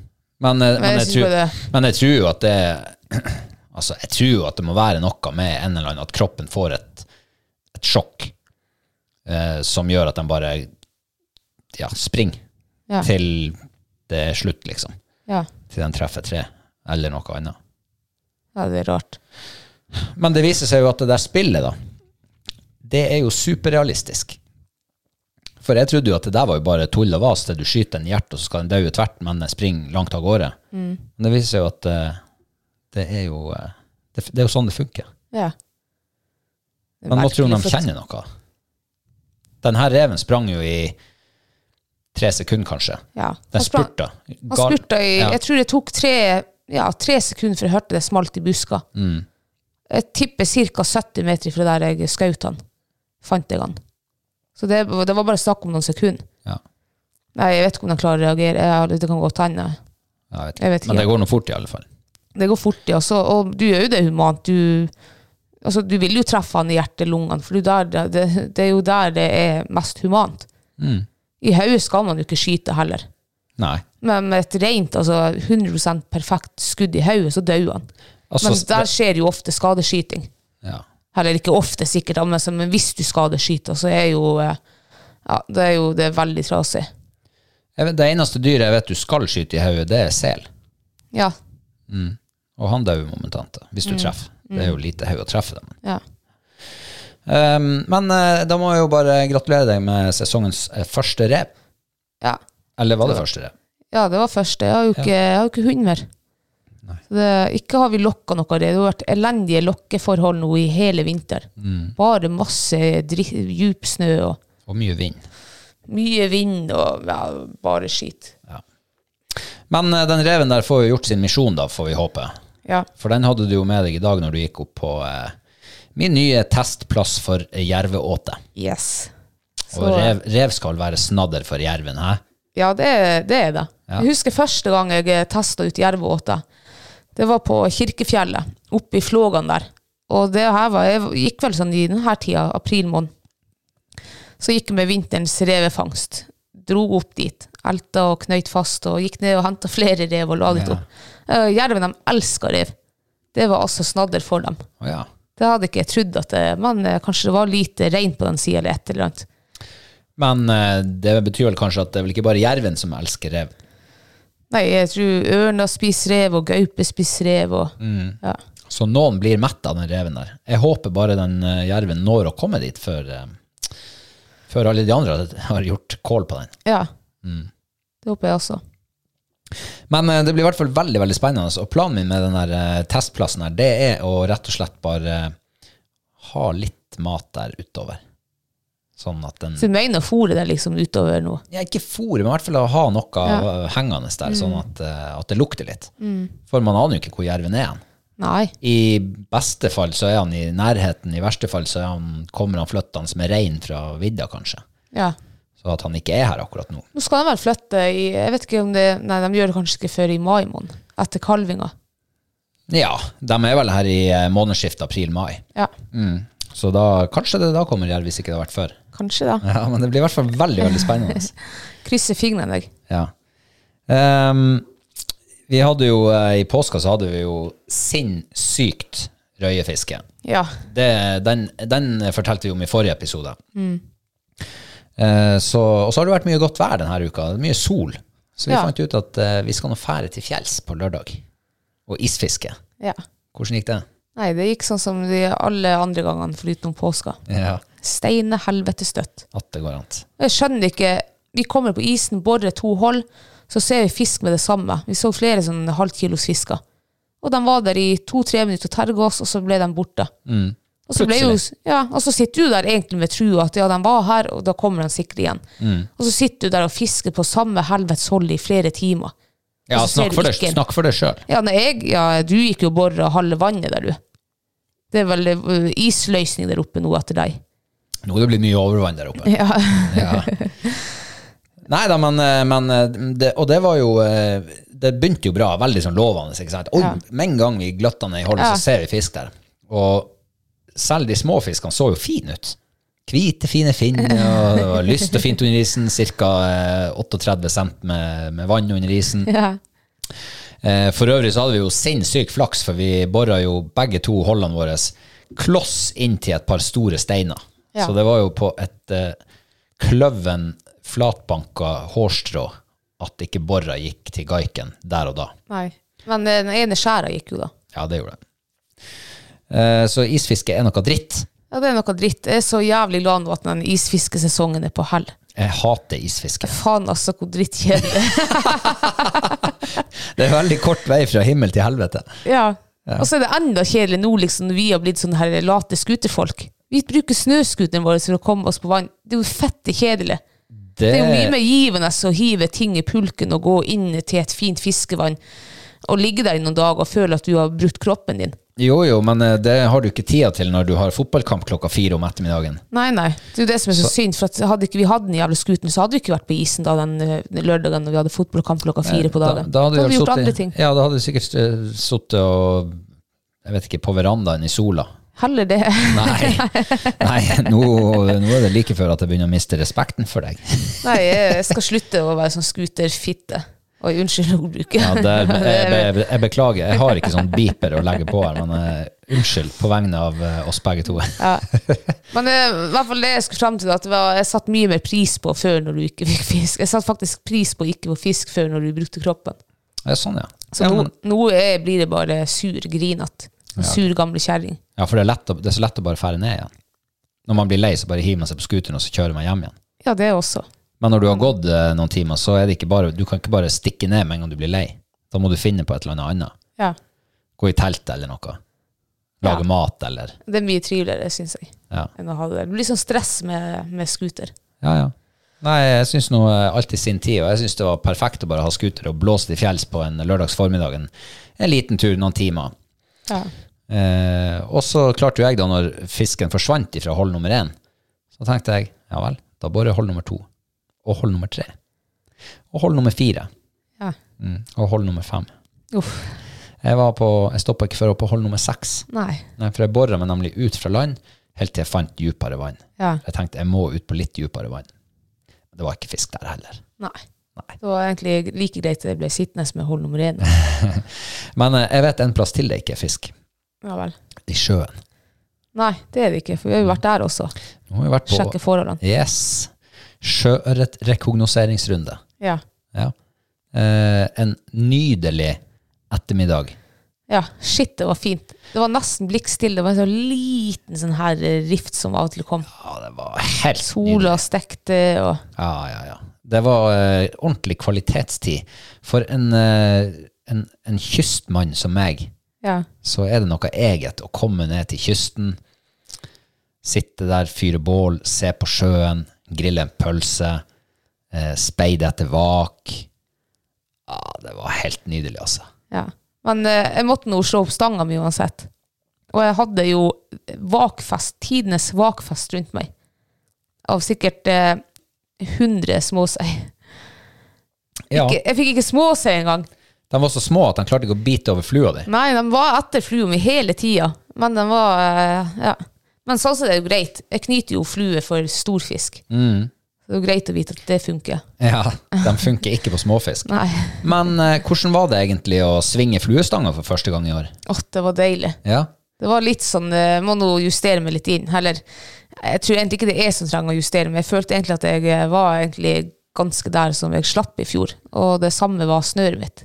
[SPEAKER 2] Men, eh, men, jeg,
[SPEAKER 3] synes
[SPEAKER 2] tror,
[SPEAKER 3] bare-
[SPEAKER 2] men jeg tror jo at det Altså, jeg tror jo at det må være noe med en eller annen at kroppen får et, et sjokk eh, som gjør at den bare ja, springer
[SPEAKER 3] Ja.
[SPEAKER 2] til det er slutt, liksom.
[SPEAKER 3] Ja.
[SPEAKER 2] Til den treffer tre, eller noe annet.
[SPEAKER 3] ja, det er rart.
[SPEAKER 2] Men det viser seg jo at det der spillet, da, det er jo superrealistisk. For jeg trodde jo at det der var jo bare tull og vas, det du skyter en hjert, og så skal den daue tvert, men den springer langt av gårde.
[SPEAKER 3] Mm.
[SPEAKER 2] Men det viser seg jo at eh, det er jo eh, det, det er jo sånn det funker.
[SPEAKER 3] Ja. Det er
[SPEAKER 2] Men må tro de
[SPEAKER 3] merkelig, for-
[SPEAKER 2] kjenner noe. Den her reven sprang jo i tre sekunder, kanskje.
[SPEAKER 3] Ja. Han
[SPEAKER 2] Den
[SPEAKER 3] sprang-
[SPEAKER 2] spurta.
[SPEAKER 3] Altså, Han spurta i
[SPEAKER 2] Ja.
[SPEAKER 3] Jeg tror det tok tre, ja, tre sekunder før jeg hørte det smalt i buska.
[SPEAKER 2] Mm.
[SPEAKER 3] Jeg tipper ca. 70 meter fra der jeg skjøt han. Fant jeg han. Så det, det var bare snakk om noen sekunder.
[SPEAKER 2] Ja.
[SPEAKER 3] Nei, jeg vet ikke om de klarer å reagere. Jeg, har- det kan godt hende.
[SPEAKER 2] Ja, jeg vet
[SPEAKER 3] Jeg vet
[SPEAKER 2] ikke. Men
[SPEAKER 3] ikke.
[SPEAKER 2] det går nå fort, i alle fall.
[SPEAKER 3] Det går fort, ja. Så, og du gjør jo det humant. Du, altså, du vil jo treffe han i hjertelungene, for det, er der, det, det er jo der det er mest humant. I hodet skal man jo ikke skyte heller.
[SPEAKER 2] Nei.
[SPEAKER 3] Men med et rent, altså 100 perfekt skudd i hodet, så dør han.
[SPEAKER 2] Altså,
[SPEAKER 3] men der skjer jo ofte skadeskyting.
[SPEAKER 2] ja.
[SPEAKER 3] Eller ikke ofte, sikkert, men altså, men hvis du skadeskyter, så er jo eh, ja, det er jo det er veldig trasig.
[SPEAKER 2] Jeg vet, det eneste dyret jeg vet du skal skyte i hodet, det er sel.
[SPEAKER 3] Ja.
[SPEAKER 2] Og han dauer momentant, da, hvis du treffer. Det er jo lite hode å treffe dem.
[SPEAKER 3] ja.
[SPEAKER 2] Um, men eh, da må jeg jo bare gratulere deg med sesongens eh, første rev.
[SPEAKER 3] Ja.
[SPEAKER 2] Eller var det første rev?
[SPEAKER 3] ja, det var første. Jeg har jo ikke, jeg har jo ikke hund mer. Så det, ikke har vi lokka noe av det. Det har vært elendige lokkeforhold nå i hele vinter. Bare masse dri- djup snø og
[SPEAKER 2] Og mye vind.
[SPEAKER 3] mye vind og ja, bare skit.
[SPEAKER 2] Men eh, den reven der får jo gjort sin misjon, da, får vi håpe.
[SPEAKER 3] Ja.
[SPEAKER 2] For den hadde du jo med deg i dag når du gikk opp på eh, min nye testplass for jerveåte.
[SPEAKER 3] Yes. Så,
[SPEAKER 2] Og rev, rev skal være snadder for jerven, hæ?
[SPEAKER 3] Ja, det, er- det er det. Jeg husker første gang jeg testa ut jerveåte. Det var på Kirkefjellet, oppe i Flågan der. Og det her var, jeg gikk vel sånn i denne tida, april måned. Så gikk jeg med vinterens revefangst. Dro opp dit. Elta og knøyt fast og gikk ned og henta flere rev og la dit opp. Eh, jerven de elska rev. Det var altså snadder for dem.
[SPEAKER 2] Å ja.
[SPEAKER 3] Det hadde ikke jeg trodd, at det, men eh, kanskje det var lite rein på den sida eller et eller annet.
[SPEAKER 2] Men eh, det betyr vel kanskje at det er vel ikke bare jerven som elsker rev?
[SPEAKER 3] Nei, jeg tror ørna spiser rev, og gaupe spiser rev. Og, ja.
[SPEAKER 2] Så noen blir mett av den reven der. Jeg håper bare den eh, jerven når å komme dit før, eh, før alle de andre har gjort kål på den.
[SPEAKER 3] ja. Det håper jeg også.
[SPEAKER 2] Men eh, det blir i hvert fall veldig veldig spennende. Og planen min med den der eh, testplassen her, det er å rett og slett bare eh, ha litt mat der utover. Sånn at den
[SPEAKER 3] Så du mener å fôre den liksom utover nå?
[SPEAKER 2] ja, Ikke fôret, men i hvert fall å ha noe
[SPEAKER 3] Ja. Mm.
[SPEAKER 2] eh, hengende der, sånn at, eh, at det lukter litt. For man aner jo ikke hvor jerven er hen.
[SPEAKER 3] Nei.
[SPEAKER 2] I beste fall så er han i nærheten, i verste fall så er han, kommer han flyttende med rein fra vidda, kanskje.
[SPEAKER 3] Ja.
[SPEAKER 2] Så at han ikke er her akkurat nå.
[SPEAKER 3] Nå skal de vel flytte i Jeg vet ikke om det Nei, de gjør det kanskje ikke før i mai måned. Etter kalvinga.
[SPEAKER 2] Ja, de er vel her i eh, månedsskiftet april-mai.
[SPEAKER 3] Ja.
[SPEAKER 2] Mm. Så da, kanskje det da kommer jerv, hvis ikke det har vært før.
[SPEAKER 3] Kanskje, da.
[SPEAKER 2] Ja, men det blir i hvert fall veldig, veldig spennende.
[SPEAKER 3] Krysser fingrene, jeg.
[SPEAKER 2] Ja. Ehm, vi hadde jo, eh, i påska så hadde vi jo sinnssykt røyefiske.
[SPEAKER 3] Ja.
[SPEAKER 2] det, den, den fortalte vi om i forrige episode.
[SPEAKER 3] Mm.
[SPEAKER 2] Eh, så, og så har det vært mye godt vær denne uka. Det er Mye sol. Så vi
[SPEAKER 3] Ja.
[SPEAKER 2] fant ut at eh, vi skal nå fære til fjells på lørdag. Og isfiske.
[SPEAKER 3] ja.
[SPEAKER 2] Hvordan gikk det?
[SPEAKER 3] Nei, det gikk sånn som de alle andre gangene foruten påska.
[SPEAKER 2] Ja.
[SPEAKER 3] Steine helvete støtt.
[SPEAKER 2] At det går an.
[SPEAKER 3] Og Jeg skjønner ikke Vi kommer på isen, borer to hold, så ser vi fisk med det samme. Vi så flere sånne halvkilos fisker. Og de var der i to-tre minutter og terga oss, og så ble de borte. Og, så ble jo, ja, og så sitter du der egentlig med trua at ja, de var her, og da kommer de sikkert igjen. Og så sitter du der og fisker på samme helvetes hold i flere timer.
[SPEAKER 2] Ja,
[SPEAKER 3] Og så ser
[SPEAKER 2] snakk
[SPEAKER 3] du
[SPEAKER 2] for, det,
[SPEAKER 3] ikke en-
[SPEAKER 2] snakk for det sjøl.
[SPEAKER 3] Ja, nei, jeg, ja, du gikk jo og bora halve vannet der, du. Det er vel eh, isløsning der oppe nå etter deg.
[SPEAKER 2] Nå er det blitt mye overvann der oppe.
[SPEAKER 3] Ja.
[SPEAKER 2] Ja. Nei da, men, eh, men eh, det, Og det var jo eh, Det begynte jo bra, veldig sånn lovende. ikke sant? Oi,
[SPEAKER 3] Ja.
[SPEAKER 2] Med en gang vi gløtta ned i hullet,
[SPEAKER 3] Ja.
[SPEAKER 2] så ser vi fisk der. Og selv de små fiskene så jo fine ut. Hvite, fine finn, og det var lyst og fint under isen. Ca. 38 cent med, med vann under isen.
[SPEAKER 3] ja.
[SPEAKER 2] Eh, For øvrig så hadde vi jo sinnssyk flaks, for vi bora jo begge to holdene våre kloss inntil et par store steiner.
[SPEAKER 3] Ja.
[SPEAKER 2] Så det var jo på et eh, kløven, flatbanka hårstrå at ikke bora gikk til gaiken der og da.
[SPEAKER 3] Nei. Men eh, den ene skjæra gikk jo, da.
[SPEAKER 2] Ja, det gjorde det. Eh, Så isfiske er noe dritt.
[SPEAKER 3] Ja, det er noe dritt. Jeg er så jævlig glad nå at den isfiskesesongen er på hell.
[SPEAKER 2] Jeg hater isfiske.
[SPEAKER 3] Faen altså, hvor drittkjedelig.
[SPEAKER 2] Det er veldig kort vei fra himmel til helvete.
[SPEAKER 3] ja. Og så er det enda kjedeligere nå liksom, når vi har blitt sånne her late skuterfolk. Vi bruker snøskuteren vår for å komme oss på vann. Det er jo fette kjedelig. Det er jo mye mer givende å hive ting i pulken og gå inn til et fint fiskevann og ligge der i noen dager og føle at du har brutt kroppen din.
[SPEAKER 2] Jo, jo, men eh, det har du ikke tida til når du har fotballkamp klokka fire om ettermiddagen.
[SPEAKER 3] Nei, nei. Det er jo det som er så, synd, for at hadde ikke vi hatt den jævla skuten, så hadde vi ikke vært på isen da den eh, lørdagen når vi hadde fotballkamp klokka fire på dagen.
[SPEAKER 2] Da, da hadde
[SPEAKER 3] vi altså
[SPEAKER 2] jeg
[SPEAKER 3] gjort
[SPEAKER 2] suttet-
[SPEAKER 3] andre ting.
[SPEAKER 2] Ja, da hadde jeg sikkert eh, suttet og Jeg vet ikke, på verandaen i sola.
[SPEAKER 3] Heller det.
[SPEAKER 2] Nei, Nei nå, nå er det like før at jeg begynner å miste respekten for deg.
[SPEAKER 3] Nei, jeg skal slutte å være sånn scooterfitte. Oi, unnskyld ordbruket.
[SPEAKER 2] Ja, det, jeg, be- jeg beklager, jeg har ikke sånn beeper å legge på her, men eh, unnskyld på vegne av eh, oss begge to.
[SPEAKER 3] Men eh, i hvert fall det jeg skulle fram til, at det var, jeg satte mye mer pris på før når du ikke fikk fisk. Jeg satte faktisk pris på ikke få fisk før når du brukte kroppen.
[SPEAKER 2] Ja, sånn, ja.
[SPEAKER 3] Så
[SPEAKER 2] Ja,
[SPEAKER 3] nå,
[SPEAKER 2] men-
[SPEAKER 3] nå er, blir det bare sur, grinete. En sur, gamle kjerring.
[SPEAKER 2] ja, for det er, lett å, det er så lett å bare fære ned igjen. Når man blir lei, så bare hiver man seg på scooteren og så kjører man hjem igjen.
[SPEAKER 3] Ja, det også.
[SPEAKER 2] Men når du har gått eh, noen timer, så er det ikke bare, du kan ikke bare stikke ned med en gang du blir lei. Da må du finne på et eller annet annet.
[SPEAKER 3] Ja.
[SPEAKER 2] Gå i telt eller noe. Lage
[SPEAKER 3] Ja.
[SPEAKER 2] mat eller
[SPEAKER 3] Det er mye triveligere, syns jeg,
[SPEAKER 2] Ja,
[SPEAKER 3] enn å ha det der. Det blir sånn stress med, med scooter.
[SPEAKER 2] ja. ja. Nei, jeg syns nå eh, alt i sin tid, og jeg syns det var perfekt å bare ha scooter og blåse til fjells på en lørdags formiddag. En, en liten tur, noen timer.
[SPEAKER 3] Ja.
[SPEAKER 2] Eh, og så klarte jo jeg, da når fisken forsvant ifra hold nummer én, så tenkte jeg ja vel, da borer jeg hold nummer to. Og hold nummer tre. Og hold nummer fire.
[SPEAKER 3] Ja.
[SPEAKER 2] Mm, og hold nummer fem.
[SPEAKER 3] Uff.
[SPEAKER 2] Jeg, var på, jeg stoppa ikke før jeg var på hold nummer seks.
[SPEAKER 3] Nei.
[SPEAKER 2] Nei, for jeg bora meg nemlig ut fra land helt til jeg fant dypere vann.
[SPEAKER 3] Ja.
[SPEAKER 2] Jeg tenkte jeg må ut på litt dypere vann. Men det var ikke fisk der heller.
[SPEAKER 3] Nei.
[SPEAKER 2] Nei.
[SPEAKER 3] Det var egentlig like greit at jeg ble sittende med hold nummer én.
[SPEAKER 2] Men eh, jeg vet en plass til det ikke er fisk.
[SPEAKER 3] Ja vel.
[SPEAKER 2] I sjøen.
[SPEAKER 3] Nei, det er det ikke, for vi har jo vært der også.
[SPEAKER 2] Nå har vi vært på
[SPEAKER 3] Sjekke forholdene.
[SPEAKER 2] Yes. Sjøørretrekognoseringsrunde.
[SPEAKER 3] Ja.
[SPEAKER 2] Ja. Eh, en nydelig ettermiddag.
[SPEAKER 3] ja. Shit, det var fint. Det var nesten blikkstille. Det var en sånn liten sånn her eh, rift som av og til kom.
[SPEAKER 2] Ja, det var helt nydelig.
[SPEAKER 3] Sola stekte og
[SPEAKER 2] Ja, ja, ja. Det var eh, ordentlig kvalitetstid. For en, eh, en, en kystmann som meg,
[SPEAKER 3] Ja.
[SPEAKER 2] så er det noe eget å komme ned til kysten, sitte der, fyre bål, se på sjøen, grille en pølse, eh, speide etter vak. Ja, det var helt nydelig, altså.
[SPEAKER 3] ja. Men eh, jeg måtte nå slå opp stanga mi uansett. Og jeg hadde jo vakfest, tidenes vakfest rundt meg. Av sikkert eh, 100 småsei.
[SPEAKER 2] Ja,
[SPEAKER 3] Ikke, jeg fikk ikke småsei engang.
[SPEAKER 2] De var så små at de klarte ikke å bite over flua di.
[SPEAKER 3] Nei, de var etter flua mi hele tida. Men de var eh, Ja. Men sånn sett er det jo greit. Jeg knyter jo flue for stor fisk. Så det er jo greit å vite at det funker.
[SPEAKER 2] Ja, De funker ikke på småfisk.
[SPEAKER 3] Nei.
[SPEAKER 2] Men eh, hvordan var det egentlig å svinge fluestanga for første gang i år?
[SPEAKER 3] Åh, det var deilig.
[SPEAKER 2] Ja,
[SPEAKER 3] Det var litt sånn eh, Må nå justere meg litt inn. Eller jeg tror egentlig ikke det er jeg som trenger å justere meg. Jeg følte egentlig at jeg eh, var egentlig ganske der som jeg slapp i fjor. Og det samme var snøret mitt.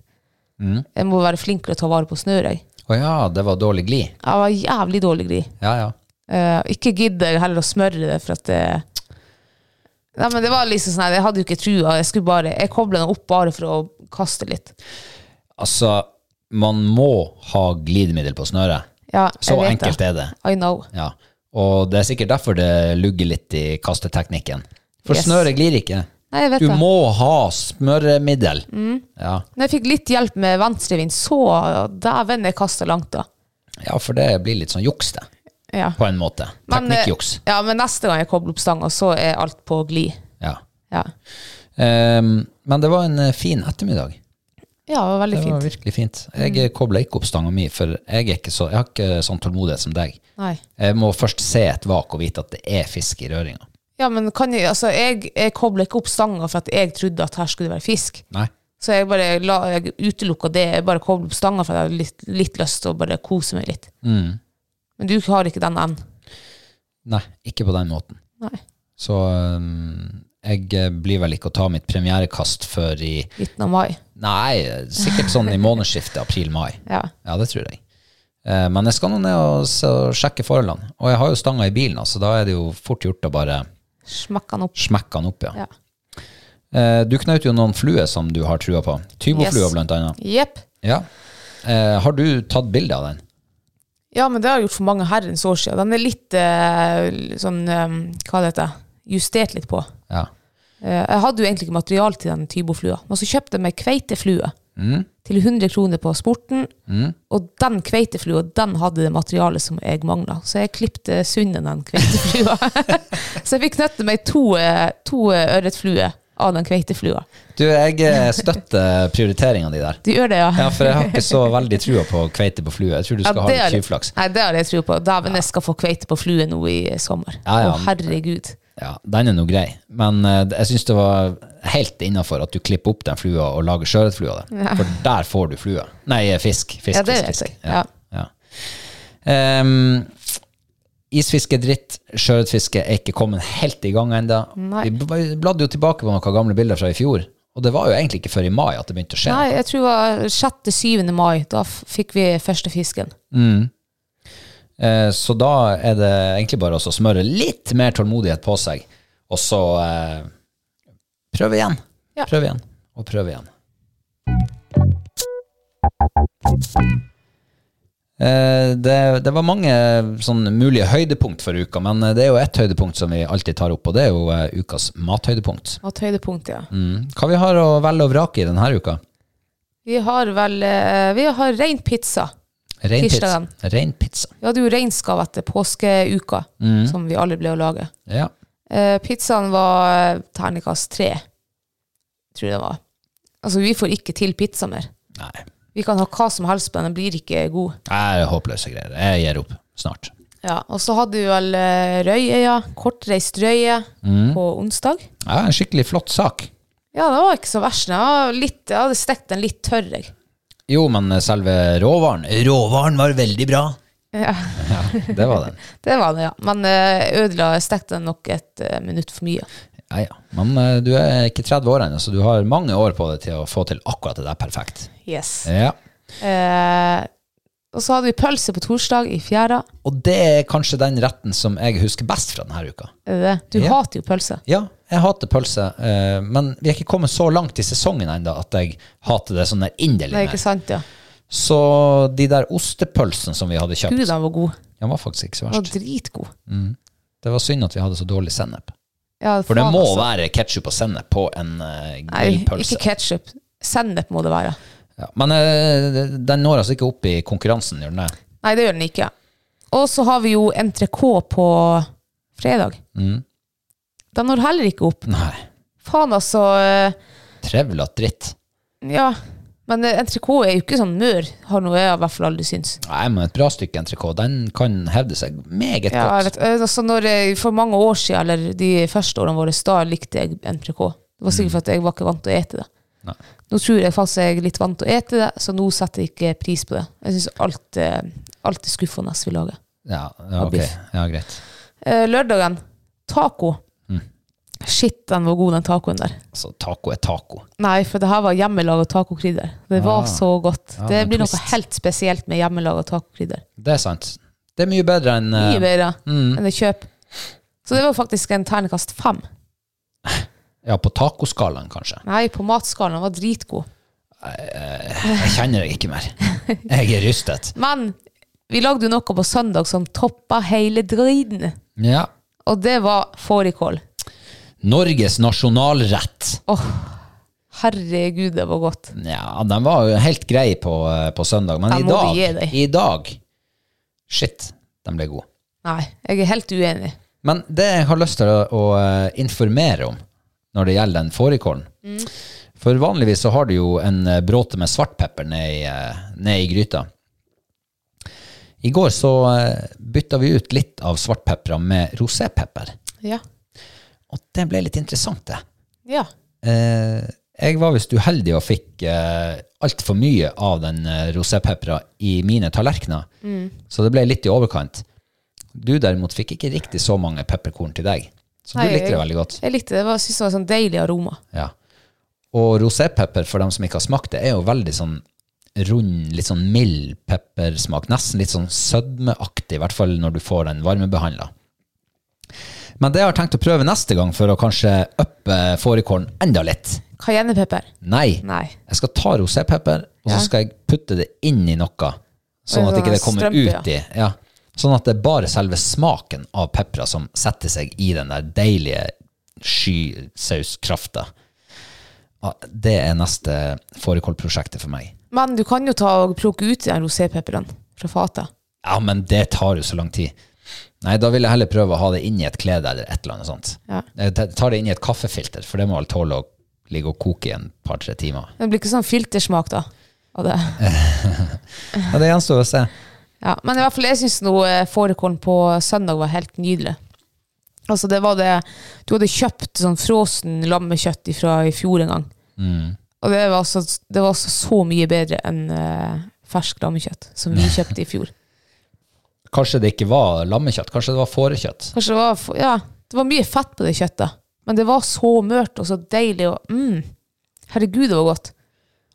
[SPEAKER 3] Jeg må være flinkere til å ta vare på snøret. jeg.
[SPEAKER 2] Å ja, det var dårlig glid.
[SPEAKER 3] Jeg var jævlig dårlig gris.
[SPEAKER 2] Ja, ja.
[SPEAKER 3] Eh, ikke gidder jeg heller å smøre det, for at det Nei, men det var liksom sånn her, Jeg hadde jo ikke trua. Jeg skulle bare, jeg kobla den opp bare for å kaste litt.
[SPEAKER 2] Altså, man må ha glidemiddel på snøret.
[SPEAKER 3] Ja,
[SPEAKER 2] Så
[SPEAKER 3] jeg vet
[SPEAKER 2] enkelt
[SPEAKER 3] det.
[SPEAKER 2] er det.
[SPEAKER 3] I know.
[SPEAKER 2] Ja. Og det er sikkert derfor det lugger litt i kasteteknikken. For
[SPEAKER 3] Yes.
[SPEAKER 2] snøret glir ikke.
[SPEAKER 3] Nei, jeg vet Mm.
[SPEAKER 2] Du
[SPEAKER 3] det.
[SPEAKER 2] må ha smøremiddel. Ja.
[SPEAKER 3] Når jeg fikk litt hjelp med venstrevind, så dæven, jeg kasta langt, da.
[SPEAKER 2] ja, for det blir litt sånn juks, det.
[SPEAKER 3] Ja.
[SPEAKER 2] På en måte.
[SPEAKER 3] Men, eh,
[SPEAKER 2] Teknikkjuks.
[SPEAKER 3] Ja, men neste gang jeg kobler opp stanga, så er alt på glid.
[SPEAKER 2] Ja.
[SPEAKER 3] Ja.
[SPEAKER 2] Ehm, men det var en eh, fin ettermiddag.
[SPEAKER 3] ja, det var veldig
[SPEAKER 2] Det var
[SPEAKER 3] fint. Mm.
[SPEAKER 2] virkelig fint. Jeg kobla ikke opp stanga mi, for jeg, er ikke så, jeg har ikke sånn tålmodighet som deg.
[SPEAKER 3] Nei.
[SPEAKER 2] Jeg må først se et vak og vite at det er fisk i røringa.
[SPEAKER 3] Ja, men kan jeg, altså, jeg, jeg kobla ikke opp stanga for at jeg trodde at her skulle det være fisk.
[SPEAKER 2] Nei.
[SPEAKER 3] Så jeg bare la, jeg utelukka det. Jeg bare koblet opp stanga, for jeg hadde litt, litt lyst til å bare kose meg litt. Men du har ikke den evnen.
[SPEAKER 2] Nei, ikke på den måten.
[SPEAKER 3] Nei.
[SPEAKER 2] Så øhm, jeg eh, blir vel ikke å ta mitt premierekast før i
[SPEAKER 3] Midten av mai.
[SPEAKER 2] Nei, eh, sikkert sånn i månedsskiftet april-mai.
[SPEAKER 3] Ja.
[SPEAKER 2] Ja, det tror jeg. Eh, Men jeg skal nå ned og s- og sjekke forholdene. Og jeg har jo stanga i bilen, så da er det jo fort gjort å bare
[SPEAKER 3] Smekk den opp.
[SPEAKER 2] smekke den opp, ja.
[SPEAKER 3] Ja.
[SPEAKER 2] Eh, Du knaut jo noen fluer som du har trua på. Tyboflua,
[SPEAKER 3] Yes.
[SPEAKER 2] blant annet.
[SPEAKER 3] Jepp.
[SPEAKER 2] Ja. Eh, har du tatt bilde av den?
[SPEAKER 3] Ja, men det har jeg gjort for mange herrens år siden. Den er litt eh, sånn eh, Hva det heter Justert litt på.
[SPEAKER 2] Ja.
[SPEAKER 3] Eh, jeg hadde jo egentlig ikke materiale til den tyboflua, men så kjøpte jeg meg kveiteflue
[SPEAKER 2] Mm.
[SPEAKER 3] til 100 kroner på Sporten. Og den kveiteflua den hadde det materialet som jeg mangla, så jeg klipte sunnen den kveiteflua. så jeg fikk nøtte meg to, eh, to eh, ørretfluer av den kveiteflua.
[SPEAKER 2] Du, jeg eh, støtter prioriteringa di der.
[SPEAKER 3] Du gjør det, ja?
[SPEAKER 2] Ja, for jeg har ikke så veldig trua på kveite på flue. Jeg tror du skal
[SPEAKER 3] Ja,
[SPEAKER 2] ha
[SPEAKER 3] har-
[SPEAKER 2] litt tjuvflaks.
[SPEAKER 3] Nei, det har jeg tro på. Dæven, jeg skal få kveite på flue nå i eh, sommer.
[SPEAKER 2] Ja, ja.
[SPEAKER 3] Å, herregud.
[SPEAKER 2] Ja, den er nå grei, men eh, jeg syns det var helt innafor at du klipper opp den flua og lager sjøørretflue av det. For der får du flua. Nei, eh, fisk. Fisk,
[SPEAKER 3] Ja, det
[SPEAKER 2] fisk,
[SPEAKER 3] vet
[SPEAKER 2] fisk.
[SPEAKER 3] jeg. Ja.
[SPEAKER 2] ja. Ehm, isfiske er dritt, sjøørretfiske er ikke kommet helt i gang ennå.
[SPEAKER 3] Nei.
[SPEAKER 2] Vi bl- bladde jo tilbake på noen gamle bilder fra i fjor, og det var jo egentlig ikke før i mai at det begynte å skje.
[SPEAKER 3] Nei, jeg tror det var 6.-7. mai. Da f- fikk vi første fisken.
[SPEAKER 2] Eh, Så da er det egentlig bare å smøre litt mer tålmodighet på seg, og så eh, prøve igjen.
[SPEAKER 3] Ja.
[SPEAKER 2] Prøve igjen, og prøve igjen. Eh, Det, det var mange sånn mulige høydepunkt for uka, men eh, det er jo ett høydepunkt som vi alltid tar opp, og det er jo eh, ukas mathøydepunkt.
[SPEAKER 3] Og et høydepunkt, ja.
[SPEAKER 2] Mm. Hva vi har å velge og vrake i denne uka?
[SPEAKER 3] Vi har vel eh, Vi har rein pizza.
[SPEAKER 2] Rein pizza.
[SPEAKER 3] Tirsdagen.
[SPEAKER 2] Rein pizza.
[SPEAKER 3] Vi hadde jo reinskav etter påskeuka, som vi alle ble å lage.
[SPEAKER 2] Ja.
[SPEAKER 3] Eh, pizzaen var eh, terningkast tre, tror jeg det var. Altså, vi får ikke til pizza mer.
[SPEAKER 2] Nei,
[SPEAKER 3] Vi kan ha hva som helst, men den blir ikke god.
[SPEAKER 2] det er håpløse greier. Jeg gir opp snart.
[SPEAKER 3] Ja, og så hadde vi vel eh, røyeøya, kortreist røye, på onsdag.
[SPEAKER 2] Ja, en skikkelig flott sak.
[SPEAKER 3] Ja, det var ikke så verst. Jeg, var litt, jeg hadde stekt den litt tørr, jeg.
[SPEAKER 2] Jo, men eh, selve råvaren Råvaren var veldig bra.
[SPEAKER 3] Ja,
[SPEAKER 2] Det var den.
[SPEAKER 3] det var det, ja. Men eh, ødela, jeg stekte den nok et eh, minutt for mye.
[SPEAKER 2] Ja, ja. Men eh, du er ikke 30 år ennå, så du har mange år på deg til å få til akkurat det der perfekt.
[SPEAKER 3] Yes.
[SPEAKER 2] Ja.
[SPEAKER 3] Eh, og så hadde vi pølse på torsdag i fjæra.
[SPEAKER 2] Og det er kanskje den retten som jeg husker best fra denne uka.
[SPEAKER 3] Er det det? Du
[SPEAKER 2] Ja.
[SPEAKER 3] hater jo pølse.
[SPEAKER 2] Ja, jeg hater pølse, eh, men vi er ikke kommet så langt i sesongen ennå at jeg hater det sånn der
[SPEAKER 3] Det er
[SPEAKER 2] inderlig.
[SPEAKER 3] ikke
[SPEAKER 2] mer.
[SPEAKER 3] sant, ja.
[SPEAKER 2] Så de der ostepølsene som vi hadde
[SPEAKER 3] Gud,
[SPEAKER 2] kjøpt,
[SPEAKER 3] den var god.
[SPEAKER 2] den var faktisk ikke så
[SPEAKER 3] Den var
[SPEAKER 2] verst.
[SPEAKER 3] dritgod.
[SPEAKER 2] Det var synd at vi hadde så dårlig sennep.
[SPEAKER 3] Ja,
[SPEAKER 2] For det
[SPEAKER 3] faen,
[SPEAKER 2] må
[SPEAKER 3] altså.
[SPEAKER 2] være ketsjup og sennep på en eh,
[SPEAKER 3] Nei,
[SPEAKER 2] grillpølse.
[SPEAKER 3] ikke ketsjup. Sennep må det være.
[SPEAKER 2] Ja, men eh, den når altså ikke opp i konkurransen, gjør den det?
[SPEAKER 3] Nei, det gjør den ikke. Og så har vi jo entrecôte på fredag.
[SPEAKER 2] Mm.
[SPEAKER 3] Den når heller ikke opp.
[SPEAKER 2] Nei.
[SPEAKER 3] Faen, altså. eh,
[SPEAKER 2] Trevlete dritt.
[SPEAKER 3] Ja. Men eh, entrecôte er jo ikke sånn mør, har noe jeg i hvert fall aldri syns.
[SPEAKER 2] Nei, men et bra stykke entrecôte, den kan hevde seg meget
[SPEAKER 3] Ja, jeg
[SPEAKER 2] godt.
[SPEAKER 3] vet, eh, altså når jeg, for mange år siden, eller de første årene våre, da likte jeg entrecôte. Det var sikkert for at jeg var ikke vant til å ete det.
[SPEAKER 2] Nei.
[SPEAKER 3] Nå tror jeg faktisk jeg er litt vant til å ete det, så nå setter jeg ikke pris på det. Jeg syns alt, eh, alt er skuffende vi lager.
[SPEAKER 2] Ja, ja, ok.
[SPEAKER 3] biff.
[SPEAKER 2] ja, greit.
[SPEAKER 3] Eh, lørdagen, taco. Shit, den var god, den tacoen der.
[SPEAKER 2] Altså, taco er taco.
[SPEAKER 3] Nei, for det her var hjemmelaga tacokrydder. Det var så godt.
[SPEAKER 2] Ja,
[SPEAKER 3] det
[SPEAKER 2] men
[SPEAKER 3] blir noe
[SPEAKER 2] twist.
[SPEAKER 3] helt spesielt med hjemmelaga tacokrydder.
[SPEAKER 2] Det er sant. Det er mye bedre enn eh,
[SPEAKER 3] Mye bedre enn det kjøp. Så det var faktisk en terningkast fem.
[SPEAKER 2] Ja, på tacoskalaen, kanskje.
[SPEAKER 3] Nei, på matskalaen den var dritgod.
[SPEAKER 2] Jeg kjenner deg ikke mer. Jeg er rystet.
[SPEAKER 3] Men vi lagde jo noe på søndag som toppa hele driten.
[SPEAKER 2] Ja.
[SPEAKER 3] Og det var fårikål.
[SPEAKER 2] Norges nasjonalrett.
[SPEAKER 3] Herregud, det var godt.
[SPEAKER 2] Ja, den var jo helt grei på, eh, på søndag, men
[SPEAKER 3] Jeg
[SPEAKER 2] i
[SPEAKER 3] må gi
[SPEAKER 2] dag,
[SPEAKER 3] deg.
[SPEAKER 2] i dag Shit, den ble god.
[SPEAKER 3] Nei, jeg er helt uenig.
[SPEAKER 2] Men det jeg har lyst til å, å eh, informere om når det gjelder den fårikålen For vanligvis så har du jo en eh, bråte med svartpepper ned i, eh, ned i gryta. I går så eh, bytta vi ut litt av svartpeppera med rosépepper.
[SPEAKER 3] Ja.
[SPEAKER 2] Og det ble litt interessant, det.
[SPEAKER 3] ja.
[SPEAKER 2] Eh, jeg var visst uheldig og fikk eh, altfor mye av den eh, rosépeppera i mine tallerkener, så det ble litt i overkant. Du derimot fikk ikke riktig så mange pepperkorn til deg, så
[SPEAKER 3] Nei,
[SPEAKER 2] du likte det
[SPEAKER 3] jeg-
[SPEAKER 2] veldig godt.
[SPEAKER 3] Jeg likte det. Jeg var- syntes det var sånn deilig aroma.
[SPEAKER 2] Ja. Og rosépepper, for dem som ikke har smakt det, er jo veldig sånn rund, litt sånn mild peppersmak. Nesten litt sånn sødmeaktig, i hvert fall når du får den varmebehandla. Men det jeg har tenkt å prøve neste gang, for å kanskje uppe fårikålen enda litt.
[SPEAKER 3] Cayennepepper?
[SPEAKER 2] Nei.
[SPEAKER 3] Nei.
[SPEAKER 2] Jeg skal ta rosépepper, og så
[SPEAKER 3] Ja.
[SPEAKER 2] skal jeg putte det inn i noe. Sånn
[SPEAKER 3] Og
[SPEAKER 2] at
[SPEAKER 3] i
[SPEAKER 2] ikke det
[SPEAKER 3] sånn
[SPEAKER 2] kommer
[SPEAKER 3] strømpe,
[SPEAKER 2] ut i. Ja. Sånn at det er bare selve smaken av peppera som setter seg i den der deilige skysauskrafta. Ja, Det er neste fårikålprosjektet for meg.
[SPEAKER 3] Men du kan jo ta og plukke ut den rosépepperen fra fatet.
[SPEAKER 2] Ja, men det tar jo så lang tid. Nei, da vil jeg heller prøve å ha det inni et klede eller et eller annet sånt.
[SPEAKER 3] Ja.
[SPEAKER 2] Jeg tar det inni et kaffefilter, for det må vel tåle å ligge og koke i en par-tre timer.
[SPEAKER 3] Men Det blir ikke sånn filtersmak, da. Av det.
[SPEAKER 2] Ja, det gjenstår å se.
[SPEAKER 3] Ja. Men i hvert fall, jeg syns nå eh, fårikålen på søndag var helt nydelig. Altså, det var det Du hadde kjøpt sånn frossen lammekjøtt fra i fjor en gang. Og det var, altså, det var altså så mye bedre enn eh, fersk lammekjøtt som vi kjøpte i fjor.
[SPEAKER 2] Kanskje det ikke var lammekjøtt, kanskje det var fårekjøtt.
[SPEAKER 3] Kanskje det var, f- ja, det var mye fett på det kjøttet. Men det var så mørt og så deilig. Og, mm, herregud, det var godt.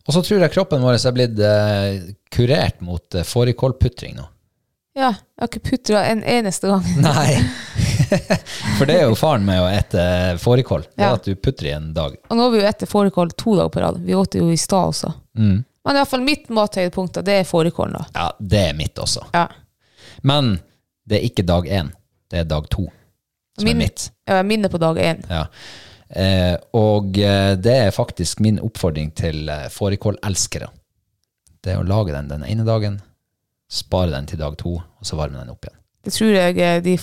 [SPEAKER 2] Og så tror jeg kroppen vår er blitt eh, kurert mot eh, fårikålputring nå.
[SPEAKER 3] Ja, jeg har ikke putra en eneste gang.
[SPEAKER 2] Nei. For det er jo faren med å ete eh, fårikål. Det er
[SPEAKER 3] Ja.
[SPEAKER 2] at du putter i en dag.
[SPEAKER 3] Og nå har vi jo etter fårikål to dager på rad. Vi åt det jo i stad også. Men i hvert fall mitt mathøydepunkt, da, det er fårikålen. da.
[SPEAKER 2] Ja, det er mitt også.
[SPEAKER 3] Ja.
[SPEAKER 2] Men det er ikke dag én, det er dag to som
[SPEAKER 3] Min-
[SPEAKER 2] er mitt.
[SPEAKER 3] Ja, Minne på dag én.
[SPEAKER 2] Ja. Eh, og eh, det er faktisk min oppfordring til eh, fårikålelskere. Det er å lage den den ene dagen, spare den til dag to, og så varme den opp igjen.
[SPEAKER 3] Det tror jeg eh, de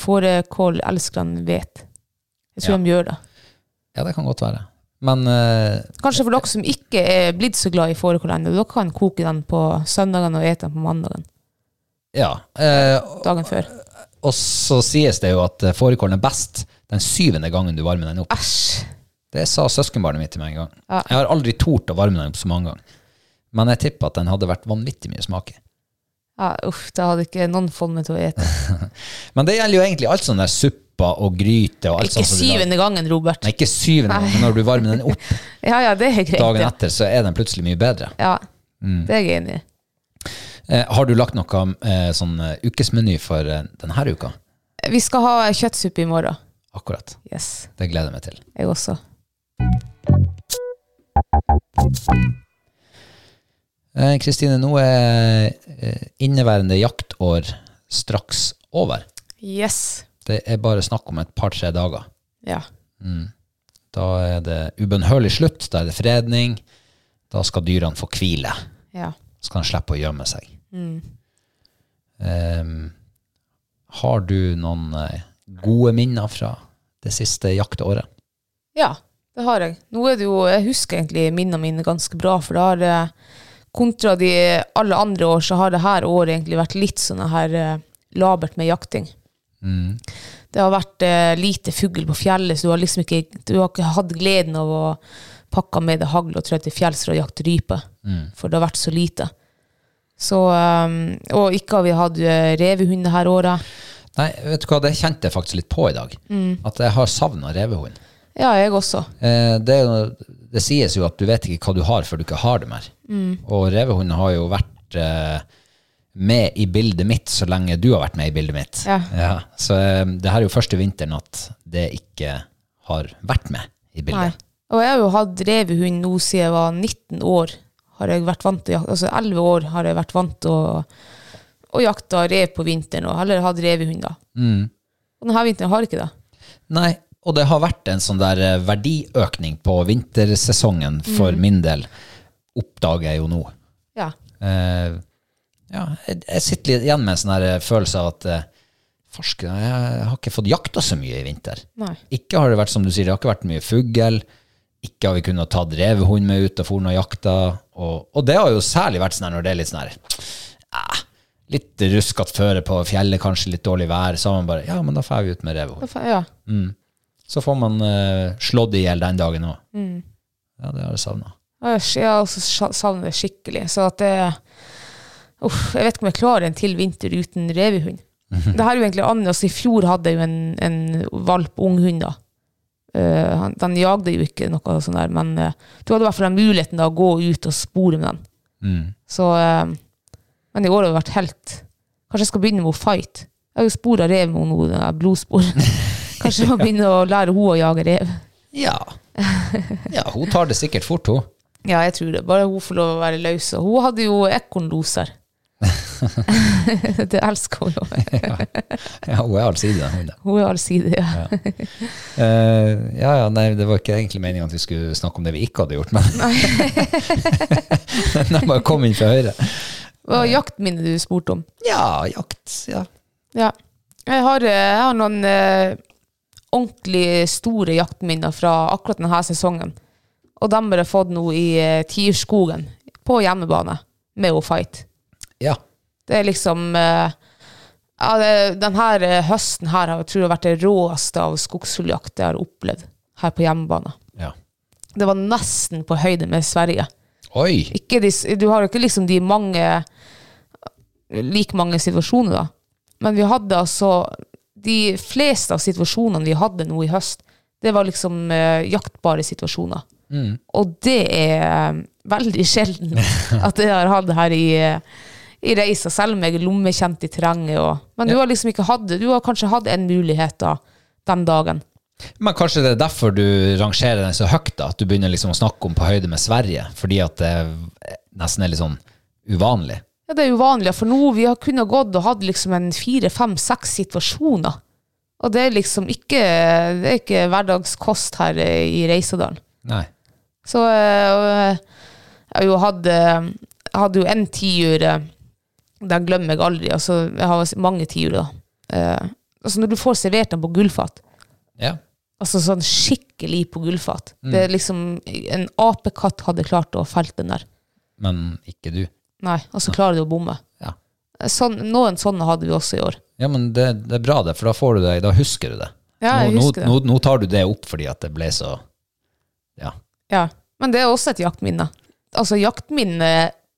[SPEAKER 3] fårikålelskerne vet. Jeg
[SPEAKER 2] Ja.
[SPEAKER 3] tror de gjør det.
[SPEAKER 2] Ja, det kan godt være. Men eh,
[SPEAKER 3] Kanskje for dere som ikke er blitt så glad i fårikål ennå, dere kan koke den på søndagen og ete den på mandagen
[SPEAKER 2] ja. Eh,
[SPEAKER 3] dagen før.
[SPEAKER 2] og så sies det jo at eh, fårikålen er best den syvende gangen du varmer den opp.
[SPEAKER 3] Æsj!
[SPEAKER 2] Det sa søskenbarnet mitt til meg en gang.
[SPEAKER 3] Ja.
[SPEAKER 2] Jeg har aldri tort å varme den opp så mange ganger. Men jeg tipper at den hadde vært vanvittig mye smak i.
[SPEAKER 3] Ja, uff, det hadde ikke noen fått meg til å ete.
[SPEAKER 2] Men det gjelder jo egentlig alt sånn der suppa og gryte og alt
[SPEAKER 3] Ikke
[SPEAKER 2] sånt. sånn som du lager.
[SPEAKER 3] syvende gangen, Robert.
[SPEAKER 2] Nei, ikke syvende gang, men når du varmer den opp
[SPEAKER 3] Ja, ja, det er greit.
[SPEAKER 2] dagen
[SPEAKER 3] ja.
[SPEAKER 2] etter, Mm. så er den plutselig mye bedre.
[SPEAKER 3] Ja, det er jeg enig i.
[SPEAKER 2] Eh, har du lagt noe eh, sånn eh, ukesmeny for eh, denne uka?
[SPEAKER 3] Vi skal ha kjøttsuppe i morgen.
[SPEAKER 2] Akkurat.
[SPEAKER 3] Yes,
[SPEAKER 2] Det gleder jeg meg til.
[SPEAKER 3] jeg også.
[SPEAKER 2] Eh, Kristine, nå er eh, inneværende jaktår straks over.
[SPEAKER 3] Yes.
[SPEAKER 2] Det er bare snakk om et par-tre dager.
[SPEAKER 3] Ja.
[SPEAKER 2] Da er det ubønnhørlig slutt, da er det fredning. Da skal dyrene få hvile.
[SPEAKER 3] ja.
[SPEAKER 2] Så kan de slippe å gjemme seg. Ehm, har du noen eh, gode minner fra det siste jaktåret?
[SPEAKER 3] Ja, det har jeg. Nå er det jo, Jeg husker egentlig minnene mine ganske bra, for det har eh, kontra de alle andre år, så har det her året egentlig vært litt sånn her eh, labert med jakting. Det har vært eh, lite fugl på fjellet, så du har liksom ikke, du har ikke hatt gleden av å pakke med deg hagl og trå til fjells for å jakte rype, for det har vært så lite. Så, eh, og ikke har vi hatt eh, revehund det her året.
[SPEAKER 2] Nei, vet du hva, det kjente jeg faktisk litt på i dag. At jeg har savna revehund.
[SPEAKER 3] Ja, jeg også.
[SPEAKER 2] Eh, det, er jo, det sies jo at du vet ikke hva du har før du ikke har det mer.
[SPEAKER 3] Mm.
[SPEAKER 2] Og revehunden har jo vært eh, med i bildet mitt så lenge du har vært med i bildet mitt.
[SPEAKER 3] Ja.
[SPEAKER 2] så eh, det her er jo første vinteren at det ikke har vært med i
[SPEAKER 3] Nei.
[SPEAKER 2] bildet.
[SPEAKER 3] Og jeg har jo hatt revehund nå siden jeg var 19 år. Har jeg vært vant til å jak- Altså 11 år har jeg vært vant til å, å jakte rev på vinteren, og heller hatt revehund da. Og denne vinteren har jeg ikke det.
[SPEAKER 2] Nei. og det har vært en sånn der eh, verdiøkning på vintersesongen
[SPEAKER 3] Mm.
[SPEAKER 2] for min del, oppdager jeg jo nå.
[SPEAKER 3] Ja.
[SPEAKER 2] Eh, ja, jeg, jeg sitter litt igjen med en sånn her eh, følelse av at eh, farsken, jeg har ikke fått jakta så mye i vinter.
[SPEAKER 3] Nei.
[SPEAKER 2] Ikke har det vært som du sier, det har ikke vært mye fugl. Ikke har vi kunnet ta drevehund med ut og forne og jakta. Og, og det har jo særlig vært sånn her når det er litt sånn her eh, Litt ruskete føre på fjellet, kanskje litt dårlig vær. Så har man bare Ja, men da får vi ut med
[SPEAKER 3] Da
[SPEAKER 2] revehund.
[SPEAKER 3] fa- Ja.
[SPEAKER 2] Så får man eh, slått i hjel den dagen òg. Ja, det har jeg savna.
[SPEAKER 3] Æsj, Jeg har også sa- savnet det skikkelig. Så at det Uff, jeg vet ikke om jeg klarer en til vinter uten revehund. Det her er jo egentlig annerledes. I fjor hadde jeg jo en, en valp, ung hund, da. Eh, han, den jagde jo ikke noe sånn der, men eh, du hadde i hvert fall den muligheten da, å gå ut og spore med den. Så eh, Men i år har det vært helt Kanskje jeg skal begynne med å fight. Jeg har jo spor av rev med henne nå, den der blodspor. Kanskje jeg må begynne å lære henne å jage rev.
[SPEAKER 2] Ja. ja. Hun tar det sikkert fort, hun.
[SPEAKER 3] Ja, jeg tror det. Bare hun får lov å være løs. Og hun hadde jo ekornloser. det elsker hun jo.
[SPEAKER 2] Ja, hun er allsidig, den hunden.
[SPEAKER 3] Hun er allsidig. Ja.
[SPEAKER 2] Eh, ja, ja, nei, det var ikke egentlig meningen at vi skulle snakke om det vi ikke hadde gjort, men Den bare kom inn fra høyre.
[SPEAKER 3] Hva var jaktminnet du spurte om?
[SPEAKER 2] Ja, jakt, ja.
[SPEAKER 3] Ja. Jeg har, eh, jeg har noen eh, ordentlig store jaktminner fra akkurat denne sesongen. Og dem har jeg fått nå i eh, Tierskogen, på hjemmebane, med å fight.
[SPEAKER 2] Ja,
[SPEAKER 3] Det er liksom eh, ja, det, Den her eh, høsten her har jeg tror jeg har vært det råeste av skogsfugljakt jeg har opplevd her på hjemmebane.
[SPEAKER 2] ja.
[SPEAKER 3] Det var nesten på høyde med Sverige.
[SPEAKER 2] Oi!
[SPEAKER 3] Ikke de, s- du har jo ikke liksom de mange like mange situasjoner, da. Men vi hadde altså De fleste av situasjonene vi hadde nå i høst, det var liksom eh, jaktbare situasjoner. Og det er eh, veldig sjelden at jeg har hatt det her i, eh, i reisa, selv om jeg er lommekjent i terrenget. Og, men du har liksom ikke hatt det. Du har kanskje hatt en mulighet da, den dagen.
[SPEAKER 2] Men kanskje det er derfor du rangerer den så høyt, da, at du begynner liksom å snakke om på høyde med Sverige, fordi at det, nesten er litt sånn uvanlig.
[SPEAKER 3] Ja, det er uvanlig, for nå vi har kunnet gått og hatt liksom en fire, fem, seks situasjoner. Og det er liksom ikke, det er ikke hverdagskost her eh, i Reisadalen.
[SPEAKER 2] Nei.
[SPEAKER 3] Så eh, jeg har jo hatt eh, Jeg hadde jo en tiur eh, Den glemmer jeg aldri. Altså, jeg har mange tiurer, da. Eh, altså, når du får servert den på gullfat,
[SPEAKER 2] Ja.
[SPEAKER 3] altså sånn skikkelig på gullfat
[SPEAKER 2] Mm.
[SPEAKER 3] Det er liksom En apekatt hadde klart å felt den der.
[SPEAKER 2] Men ikke du.
[SPEAKER 3] Nei, og så klarer du å bomme.
[SPEAKER 2] Ja.
[SPEAKER 3] Sånn, noen sånne hadde vi også i år.
[SPEAKER 2] Ja, men det, det er bra, det, for da får du det, da husker du det.
[SPEAKER 3] Ja, jeg
[SPEAKER 2] nå,
[SPEAKER 3] husker det.
[SPEAKER 2] nå, nå, nå tar du det opp fordi at det ble så Ja.
[SPEAKER 3] Ja, men det er også et jaktminne. Altså, jaktminne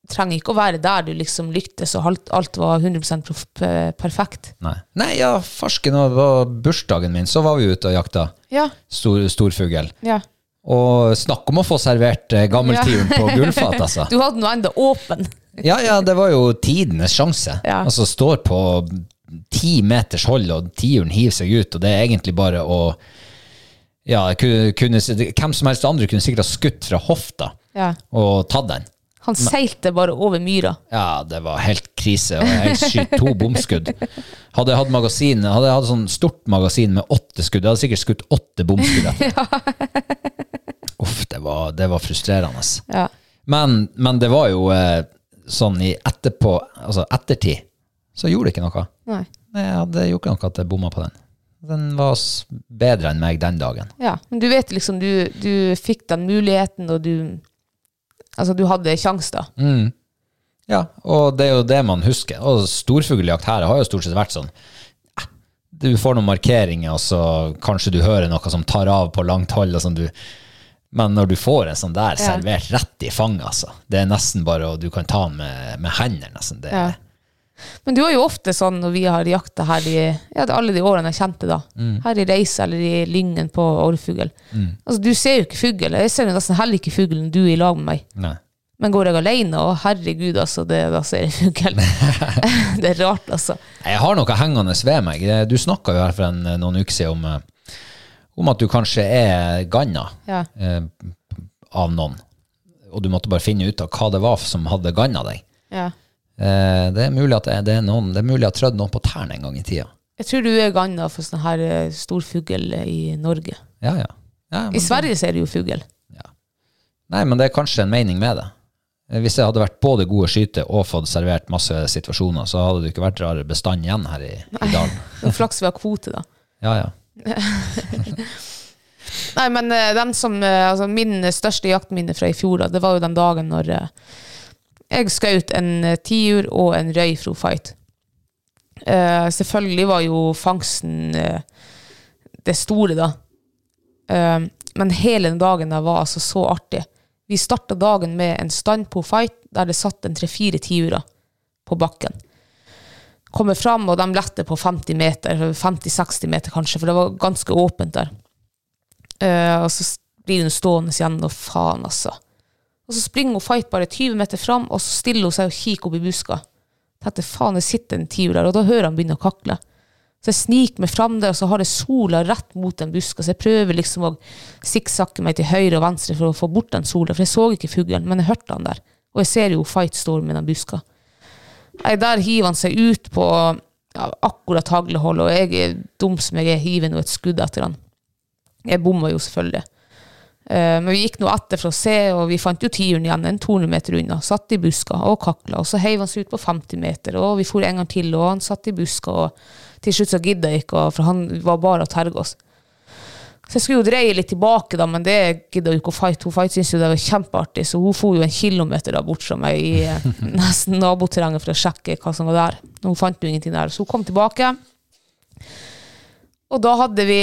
[SPEAKER 3] trenger ikke å være der du liksom lyktes og alt, alt var 100 prof pe- perfekt.
[SPEAKER 2] Nei, Nei ja, farsken, det var bursdagen min, så var vi ute og jakta
[SPEAKER 3] Ja,
[SPEAKER 2] stor, storfugl.
[SPEAKER 3] ja.
[SPEAKER 2] Og snakk om å få servert eh, gammeltiuren på gullfat, altså.
[SPEAKER 3] Du hadde noe enda åpen.
[SPEAKER 2] Ja, ja, det var jo tidenes sjanse.
[SPEAKER 3] Ja.
[SPEAKER 2] Altså står på ti meters hold, og tiuren hiver seg ut, og det er egentlig bare å ja, ku- kunne, Hvem som helst andre kunne sikkert ha skutt fra hofta
[SPEAKER 3] Ja.
[SPEAKER 2] og tatt den.
[SPEAKER 3] Han seilte bare over myra.
[SPEAKER 2] Ja, det var helt krise, og jeg skyt to bomskudd. Hadde jeg hatt magasin, hadde jeg hatt sånn stort magasin med åtte skudd, jeg hadde sikkert skutt åtte bomskudd etter. Uff, det var, det var frustrerende.
[SPEAKER 3] Ja.
[SPEAKER 2] Men, men det var jo eh, sånn i etterpå, altså ettertid, så gjorde det ikke noe.
[SPEAKER 3] Nei.
[SPEAKER 2] Nei, Jeg hadde gjort noe at jeg bomma på den. Den var s- bedre enn meg den dagen.
[SPEAKER 3] Ja, men du vet liksom, du, du fikk den muligheten, og du Altså, du hadde sjans da.
[SPEAKER 2] Ja, og det er jo det man husker. Og storfugljakt her har jo stort sett vært sånn eh, Du får noen markeringer, og så kanskje du hører noe som tar av på langt hold. Og sånn du, men når du får en sånn der
[SPEAKER 3] Ja.
[SPEAKER 2] servert rett i fanget, altså Det er nesten bare å Du kan ta den med, med hendene, nesten. Det,
[SPEAKER 3] Ja. Men du er jo ofte sånn når vi har jakta her i ja, alle de årene jeg kjente da,
[SPEAKER 2] Mm.
[SPEAKER 3] her i Reisa eller i Lyngen på orrfugl. Altså, du ser jo ikke fugl. Jeg ser jo nesten heller ikke fuglen du er i lag med meg.
[SPEAKER 2] Nei.
[SPEAKER 3] Men går jeg alene, å herregud, altså, det, da ser jeg fugl. det er rart, altså.
[SPEAKER 2] Jeg har noe hengende ved meg. Eh, Du snakka jo her for en, noen uker siden om, eh, om at du kanskje er ganna
[SPEAKER 3] Ja.
[SPEAKER 2] eh, av noen, og du måtte bare finne ut av hva det var som hadde ganna deg.
[SPEAKER 3] Ja.
[SPEAKER 2] Eh, det er mulig at det er noen Det er mulig at jeg trødde noen på tærne en gang i tida.
[SPEAKER 3] Jeg tror du er ganna for sånn her eh, stor fugl i Norge.
[SPEAKER 2] Ja, ja. ja men,
[SPEAKER 3] I Sverige ser du jo fugl.
[SPEAKER 2] nei, men det er kanskje en mening med det. Eh, Hvis jeg hadde vært både god å skyte og fått servert masse situasjoner, så hadde det ikke vært rar bestand igjen her i, i dalen.
[SPEAKER 3] Det er Flaks vi har kvote, da.
[SPEAKER 2] Ja, ja.
[SPEAKER 3] Nei, men eh, den som, eh, altså, min største jaktminne fra i fjor, da, det var jo den dagen når eh, jeg skjøt en eh, tiur og en røy fra fight. Eh, selvfølgelig var jo fangsten eh, det store, da. Eh, men hele den dagen der var altså så artig. Vi starta dagen med en stand på fight der det satt en tre-fire tiurer på bakken kommer fram, og de letter på 50 meter, 50-60 meter kanskje, for det var ganske åpent der. Eh, og så s- blir hun stående igjen, og faen altså. Og så springer hun fight bare 20 meter fram, og så stiller hun seg og kikker opp i buska. Tenkte faen, det sitter en tiur der, og da hører han begynne å kakle. Så jeg sniker meg fram der, og så har jeg sola rett mot den buska, så jeg prøver liksom å sikksakke meg til høyre og venstre for å få bort den sola, for jeg så ikke fuglen, men jeg hørte han der. Og jeg ser jo fight står med den buska. Nei, der hiver han seg ut på ja, akkurat haglehold, og jeg er dum som jeg er, hiver nå et skudd etter han. Jeg bomma jo selvfølgelig. Eh, men vi gikk nå etter for å se, og vi fant jo tiuren igjen, en 200 meter unna. Satt i buska og kakla, og så heiv han seg ut på 50 meter, og vi for en gang til, og han satt i buska, og til slutt så gidda jeg ikke, og- for han var bare å terge oss. Så jeg skulle jo dreie litt tilbake, da, men det gidda jo ikke å fight. Hun fight syntes jo det var kjempeartig, så hun for jo en kilometer da bort fra meg i eh, nesten naboterrenget for å sjekke hva som var der. Hun fant jo ingenting der, så hun kom tilbake. Og da hadde vi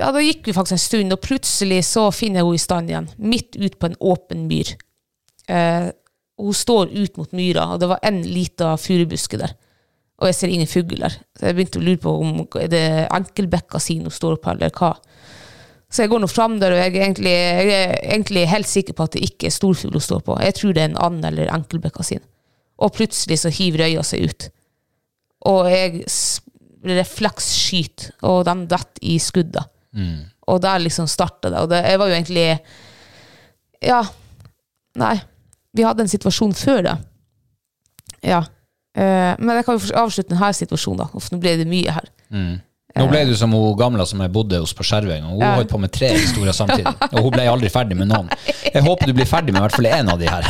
[SPEAKER 3] Ja, da gikk vi faktisk en stund, og plutselig så finner jeg henne i stand igjen. Midt ut på en åpen myr. Eh, hun står ut mot myra, og det var en lita furubuske der. Og jeg ser ingen fugl der. Så jeg begynte å lure på om er det enkelbekka si hun står oppe, eller hva. Så jeg går nå fram der, og jeg er egentlig, jeg er egentlig helt sikker på at det ikke er storfugl hun står på. Jeg tror det er en and eller enkelbekkasin. Og plutselig så hiver øya seg ut. Og jeg s- refleksskyter, og de detter i skudda. Og der liksom starta det. Og det, jeg var jo egentlig Ja, nei. Vi hadde en situasjon før det. Ja. Eh, men jeg kan jo avslutte denne situasjonen, da. Uff, nå ble det mye her.
[SPEAKER 2] Nå ble du som hun gamle som jeg bodde hos på Skjervøy. og Hun holdt på med tre historier samtidig, og hun ble aldri ferdig med noen. Jeg håper du blir ferdig med i hvert fall én av de her.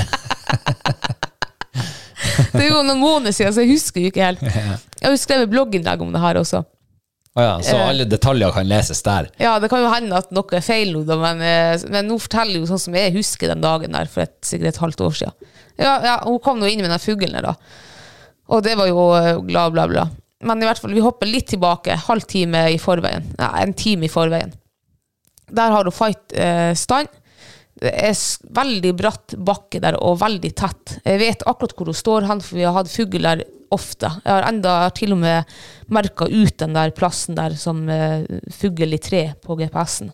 [SPEAKER 3] Det er jo noen måneder siden, så jeg husker jo ikke helt. Jeg har jo skrevet blogginnlegg om det her også.
[SPEAKER 2] Å ja, så alle detaljer kan leses der.
[SPEAKER 3] Ja, det kan jo hende at noe er feil nå, da, men, eh, men nå forteller jeg jo sånn som jeg husker den dagen der, for et, sikkert et halvt år siden. Ja, ja, hun kom nå inn med den fuglen der, da. Og det var jo eh, bla, bla, bla. Men i hvert fall, vi hopper litt tilbake, halv time i forveien. Nei, en time i forveien. Der har hun fight eh, stand. Det er s- veldig bratt bakke der, og veldig tett. Jeg vet akkurat hvor hun står hen, for vi har hatt fugl der ofte. Jeg har enda til og med merka ut den der plassen der som eh, fugl i tre på GPS-en.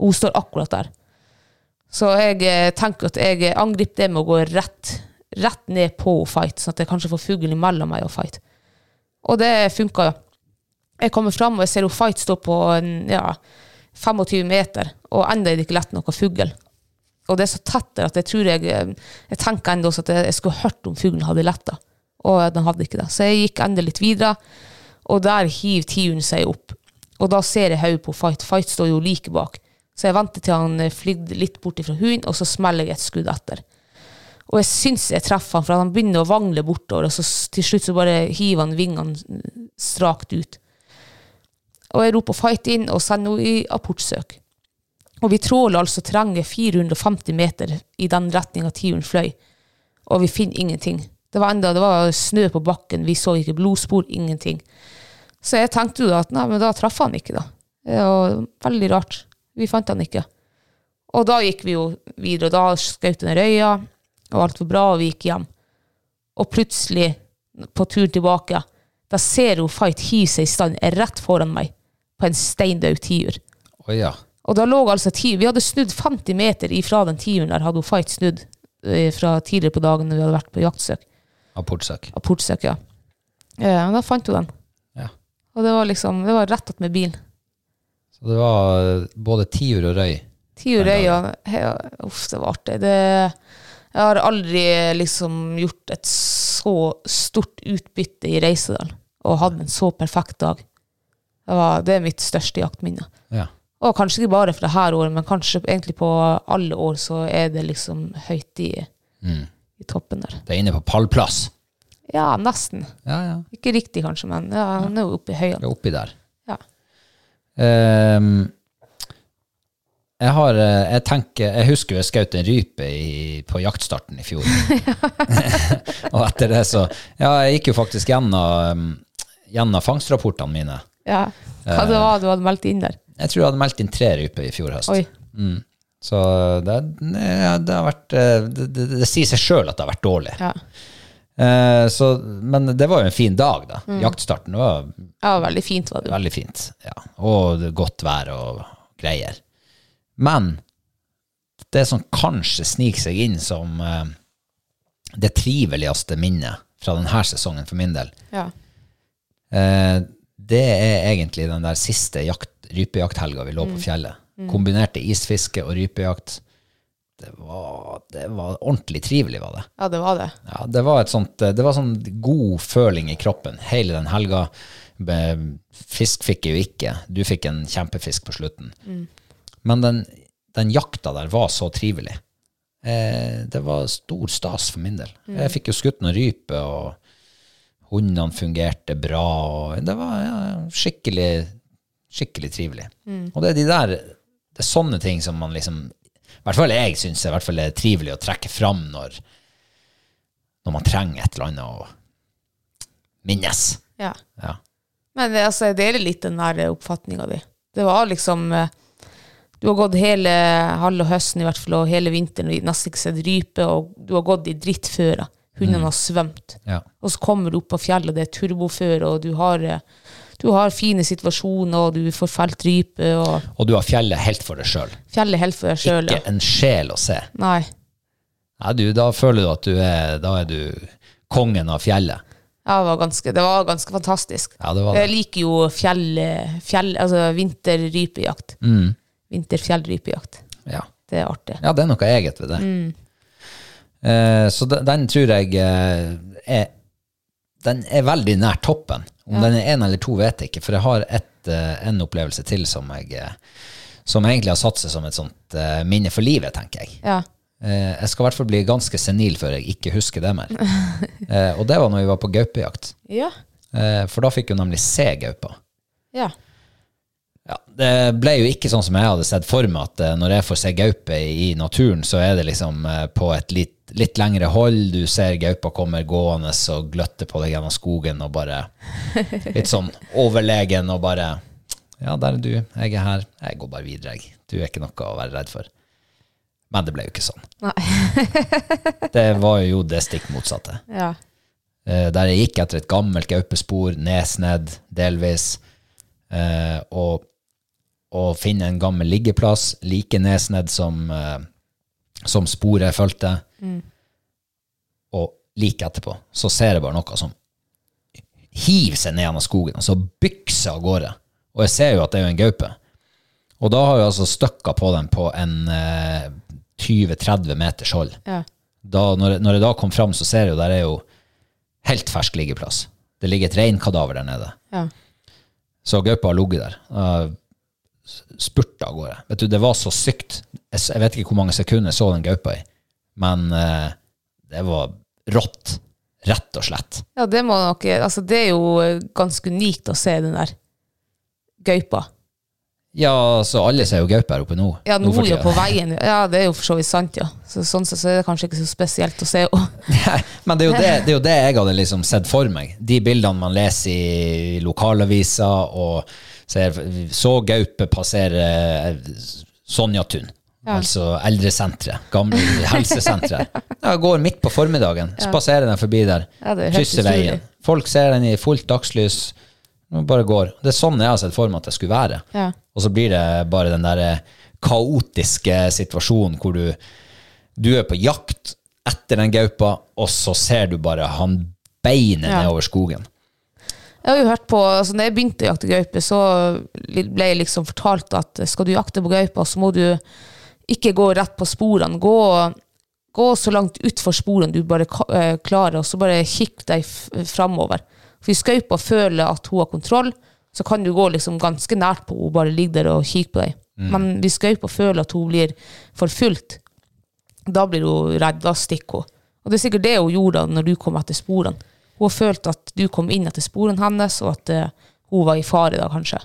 [SPEAKER 3] Og Hun står akkurat der. Så jeg eh, tenker at jeg eh, angriper det med å gå rett, rett ned på fight, sånn at jeg kanskje får fuglen imellom meg og fight. Og det funka jo. Jeg kommer fram, og jeg ser hun fight stå på en, ja, 25 meter, og enda er det ikke lett noe fugl. Og det er så tett der at jeg tror jeg Jeg tenker enda også at jeg, jeg skulle hørt om fuglen hadde letta, og den hadde ikke det. Så jeg gikk enda litt videre, og der hiver tiuren seg opp. Og da ser jeg hodet på Fight. Fight står jo like bak. Så jeg venter til han eh, flydde litt bort fra hunden, og så smeller jeg et skudd etter. Og jeg syns jeg treffer han, for han begynner å vangle bortover, og så s- til slutt så bare hiver han vingene eh, strakt ut. Og jeg roper 'fight' inn og sender henne i apportsøk. Og vi tråler altså terrenget 450 meter i den retninga tiuren fløy, og vi finner ingenting. Det var enda det var snø på bakken, vi så ikke blodspor, ingenting. Så jeg tenkte jo da at nei, men da traff han ikke, da. Det var veldig rart. Vi fant han ikke. Og da gikk vi jo videre, og da skjøt den røya, og alt var bra, og vi gikk hjem. Og plutselig, på turen tilbake, da ser hun Fight hive seg i stand rett foran meg, på en steindaud tiur.
[SPEAKER 2] Å ja.
[SPEAKER 3] Og da lå altså ti, Vi hadde snudd 50 meter ifra den tiuren der, hadde hun Fight snudd eh, fra tidligere på dagen når vi hadde vært på jaktsøk.
[SPEAKER 2] Apportsak.
[SPEAKER 3] Apportsøk, ja. Eh, og da fant hun den.
[SPEAKER 2] Ja.
[SPEAKER 3] Og det var liksom, det var rett attmed bilen.
[SPEAKER 2] Så det var eh, både tiur og røy.
[SPEAKER 3] Tiur øya Uff, det var artig. Det, jeg har aldri liksom gjort et så stort utbytte i Reisedal og hatt en så perfekt dag. Det, var, det er mitt største jaktminne.
[SPEAKER 2] Ja.
[SPEAKER 3] Og kanskje ikke bare for det her året, men kanskje egentlig på alle år så er det liksom høyt i, i toppen der.
[SPEAKER 2] Det er inne på pallplass.
[SPEAKER 3] Ja, nesten.
[SPEAKER 2] Ja, ja.
[SPEAKER 3] Ikke riktig kanskje, men ja, han er jo oppe i
[SPEAKER 2] Det
[SPEAKER 3] høyene.
[SPEAKER 2] er oppi der.
[SPEAKER 3] Ja.
[SPEAKER 2] Ehm, jeg har eh, Jeg tenker Jeg husker jeg skjøt en rype i, på jaktstarten i fjor. og etter det så Ja, jeg gikk jo faktisk gjennom, eh, gjennom fangstrapportene mine.
[SPEAKER 3] Ja. Hva det var du hadde meldt inn der?
[SPEAKER 2] Jeg tror jeg hadde meldt inn tre ryper i fjor høst.
[SPEAKER 3] Oi.
[SPEAKER 2] Så det, ja, det har vært eh, Det, det, det sier seg sjøl at det har vært dårlig.
[SPEAKER 3] Ja.
[SPEAKER 2] Eh, så, men det var jo en fin dag, da. Jaktstarten var
[SPEAKER 3] Ja, veldig fint var det. jo.
[SPEAKER 2] Veldig fint. Ja. Og det er godt vær og greier. Men det som kanskje sniker seg inn som eh, det triveligste minnet fra denne sesongen for min del,
[SPEAKER 3] Ja.
[SPEAKER 2] eh, det er egentlig den der siste jakt, rypejakthelga vi lå på fjellet. Kombinerte isfiske og rypejakt. Det var, det var ordentlig trivelig, var det.
[SPEAKER 3] ja, det var det.
[SPEAKER 2] Ja, det var et sånt, det var sånn god føling i kroppen hele den helga. Be- Fisk fikk jeg jo ikke. Du fikk en kjempefisk på slutten. Men den, den jakta der var så trivelig. Eh, det var stor stas for min del. Jeg fikk jo skutt noen rype, og hundene fungerte bra. Og det var ja, skikkelig, skikkelig trivelig. Og det er de der det er sånne ting som man liksom I hvert fall jeg syns er i hvert fall er trivelig å trekke fram når, når man trenger et eller annet å minnes.
[SPEAKER 3] Ja.
[SPEAKER 2] Ja.
[SPEAKER 3] Men eh, altså, jeg deler litt den der oppfatninga di. Det var liksom eh, Du har gått hele halve høsten i hvert fall, og hele vinteren og nesten ikke sett rype, og du har gått i drittføra. Hundene har svømt.
[SPEAKER 2] Ja.
[SPEAKER 3] Og så kommer du opp på fjellet, og det er turboføre, og du har, eh, du har fine situasjoner, og du får felt rype, og
[SPEAKER 2] Og du har fjellet helt for deg sjøl.
[SPEAKER 3] fjellet holder for deg sjøl.
[SPEAKER 2] Ikke en sjel å se.
[SPEAKER 3] Nei.
[SPEAKER 2] Nei, du, da føler du at du er Da er du kongen av fjellet.
[SPEAKER 3] Ja, det var ganske, det var ganske fantastisk.
[SPEAKER 2] Ja, det var det.
[SPEAKER 3] Jeg liker jo fjell, fjell altså vinterrypejakt. Vinterfjellrypejakt.
[SPEAKER 2] Ja.
[SPEAKER 3] Det er artig.
[SPEAKER 2] ja, det er noe eget ved det. Eh, så de- den tror jeg eh, er Den er veldig nær toppen. Om den er én eller to, vet jeg ikke, for jeg har et, eh, en opplevelse til som jeg eh, som egentlig har satt seg som et sånt eh, minne for livet, tenker jeg.
[SPEAKER 3] Ja.
[SPEAKER 2] Eh, jeg skal i hvert fall bli ganske senil før jeg ikke husker det mer. Eh, og det var når vi var på gaupejakt,
[SPEAKER 3] Ja.
[SPEAKER 2] eh, for da fikk hun nemlig se gaupa.
[SPEAKER 3] ja.
[SPEAKER 2] Ja, det ble jo ikke sånn som jeg hadde sett for meg, at eh, når jeg får se gaupe i naturen, så er det liksom eh, på et litt, litt lengre hold, du ser gaupa kommer gående og gløtter på deg gjennom skogen, og bare litt sånn overlegen, og bare Ja, der er du, jeg er her, jeg går bare videre, jeg. Du er ikke noe å være redd for. Men det ble jo ikke sånn. det var jo det stikk motsatte.
[SPEAKER 3] ja.
[SPEAKER 2] Eh, der jeg gikk etter et gammelt gaupespor, nesnedd delvis, eh, og, og finne en gammel liggeplass, like nesnedd som, eh, som sporet jeg fulgte. Og like etterpå så ser jeg bare noe som hiver seg ned gjennom skogen, og så bykser av gårde. Og jeg ser jo at det er jo en gaupe. Og da har jeg altså støkka på den på en eh, 20-30 meters hold
[SPEAKER 3] ja.
[SPEAKER 2] da, når, når jeg da kom fram, så ser jeg jo der er jo helt fersk liggeplass. Det ligger et reinkadaver der nede.
[SPEAKER 3] ja.
[SPEAKER 2] Så gaupa har ligget der. Uh, spurta av gårde. Vet du, det var så sykt. Jeg, s- jeg vet ikke hvor mange sekunder jeg så den gaupa i, men eh, det var rått. Rett og slett.
[SPEAKER 3] Ja, det må nok Altså, det er jo eh, ganske unikt å se den der gaupa.
[SPEAKER 2] Ja, så alle ser jo gaupe her oppe nå.
[SPEAKER 3] Ja, nå
[SPEAKER 2] for
[SPEAKER 3] er jo
[SPEAKER 2] tida.
[SPEAKER 3] på veien. Ja, det er jo for så vidt sant, ja. Så sånn sett så er det kanskje ikke så spesielt å se henne.
[SPEAKER 2] Nei, Men det er, jo det, det er jo det jeg hadde liksom sett for meg. De bildene man leser i lokalaviser og ser, så gaupe passere Sonjatun. Altså eldresenteret. Gamle helsesenteret. Jeg går midt på formiddagen, spaserer den forbi der,
[SPEAKER 3] Ja, det er helt
[SPEAKER 2] krysser
[SPEAKER 3] utrolig.
[SPEAKER 2] veien. Folk ser den i fullt dagslys. Den bare går. Det er sånn jeg har sett for meg at det skulle være.
[SPEAKER 3] Ja.
[SPEAKER 2] Og så blir det bare den der eh, kaotiske situasjonen hvor du du er på jakt etter den gaupa, og så ser du bare han beinet
[SPEAKER 3] Ja.
[SPEAKER 2] nedover skogen.
[SPEAKER 3] Jeg har jo hørt på, altså når jeg begynte å jakte gaupe, så ble jeg liksom fortalt at skal du jakte på gaupa, så må du ikke gå rett på sporene. Gå, gå så langt utfor sporene du bare ka- eh, klarer, og så bare kikk deg f- framover. For hvis gaupa føler at hun har kontroll, så kan du gå liksom ganske nært på henne, bare ligge der og kikke på deg. Men hvis gaupa føler at hun blir forfulgt, da blir hun redd, da stikker hun. Og det er sikkert det hun gjorde når du kom etter sporene. Hun har følt at du kom inn etter sporene hennes, og at eh, hun var i fare da, kanskje.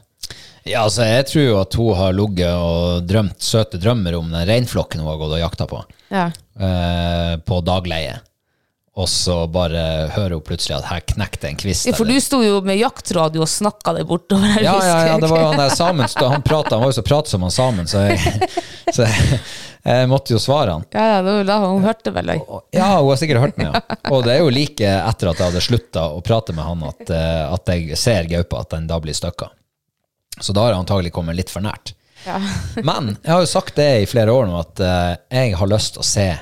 [SPEAKER 2] Ja, altså, jeg tror jo at hun har ligget og drømt søte drømmer om den reinflokken hun har gått og jakta på,
[SPEAKER 3] Ja.
[SPEAKER 2] eh, på dagleie. Og så bare hører hun plutselig at her knekk det en kvist.
[SPEAKER 3] For
[SPEAKER 2] eller-
[SPEAKER 3] du sto jo med jaktradio og snakka deg bortover. jeg
[SPEAKER 2] ja, ja, ja,
[SPEAKER 3] husker.
[SPEAKER 2] det var jo han der samen, så han, pratet, han var jo så pratsom han samen, så jeg, så jeg, jeg måtte jo svare han.
[SPEAKER 3] ja, ja, det var jo da hun hørte vel deg.
[SPEAKER 2] Og- Ja, hun har sikkert hørt meg. Ja. Og det er jo like etter at jeg hadde slutta å prate med han, at, eh, at jeg ser gaupa, at den da blir støkka. Så da har jeg antagelig kommet litt for nært. Men jeg har jo sagt det i flere år nå, at eh, jeg har lyst til å se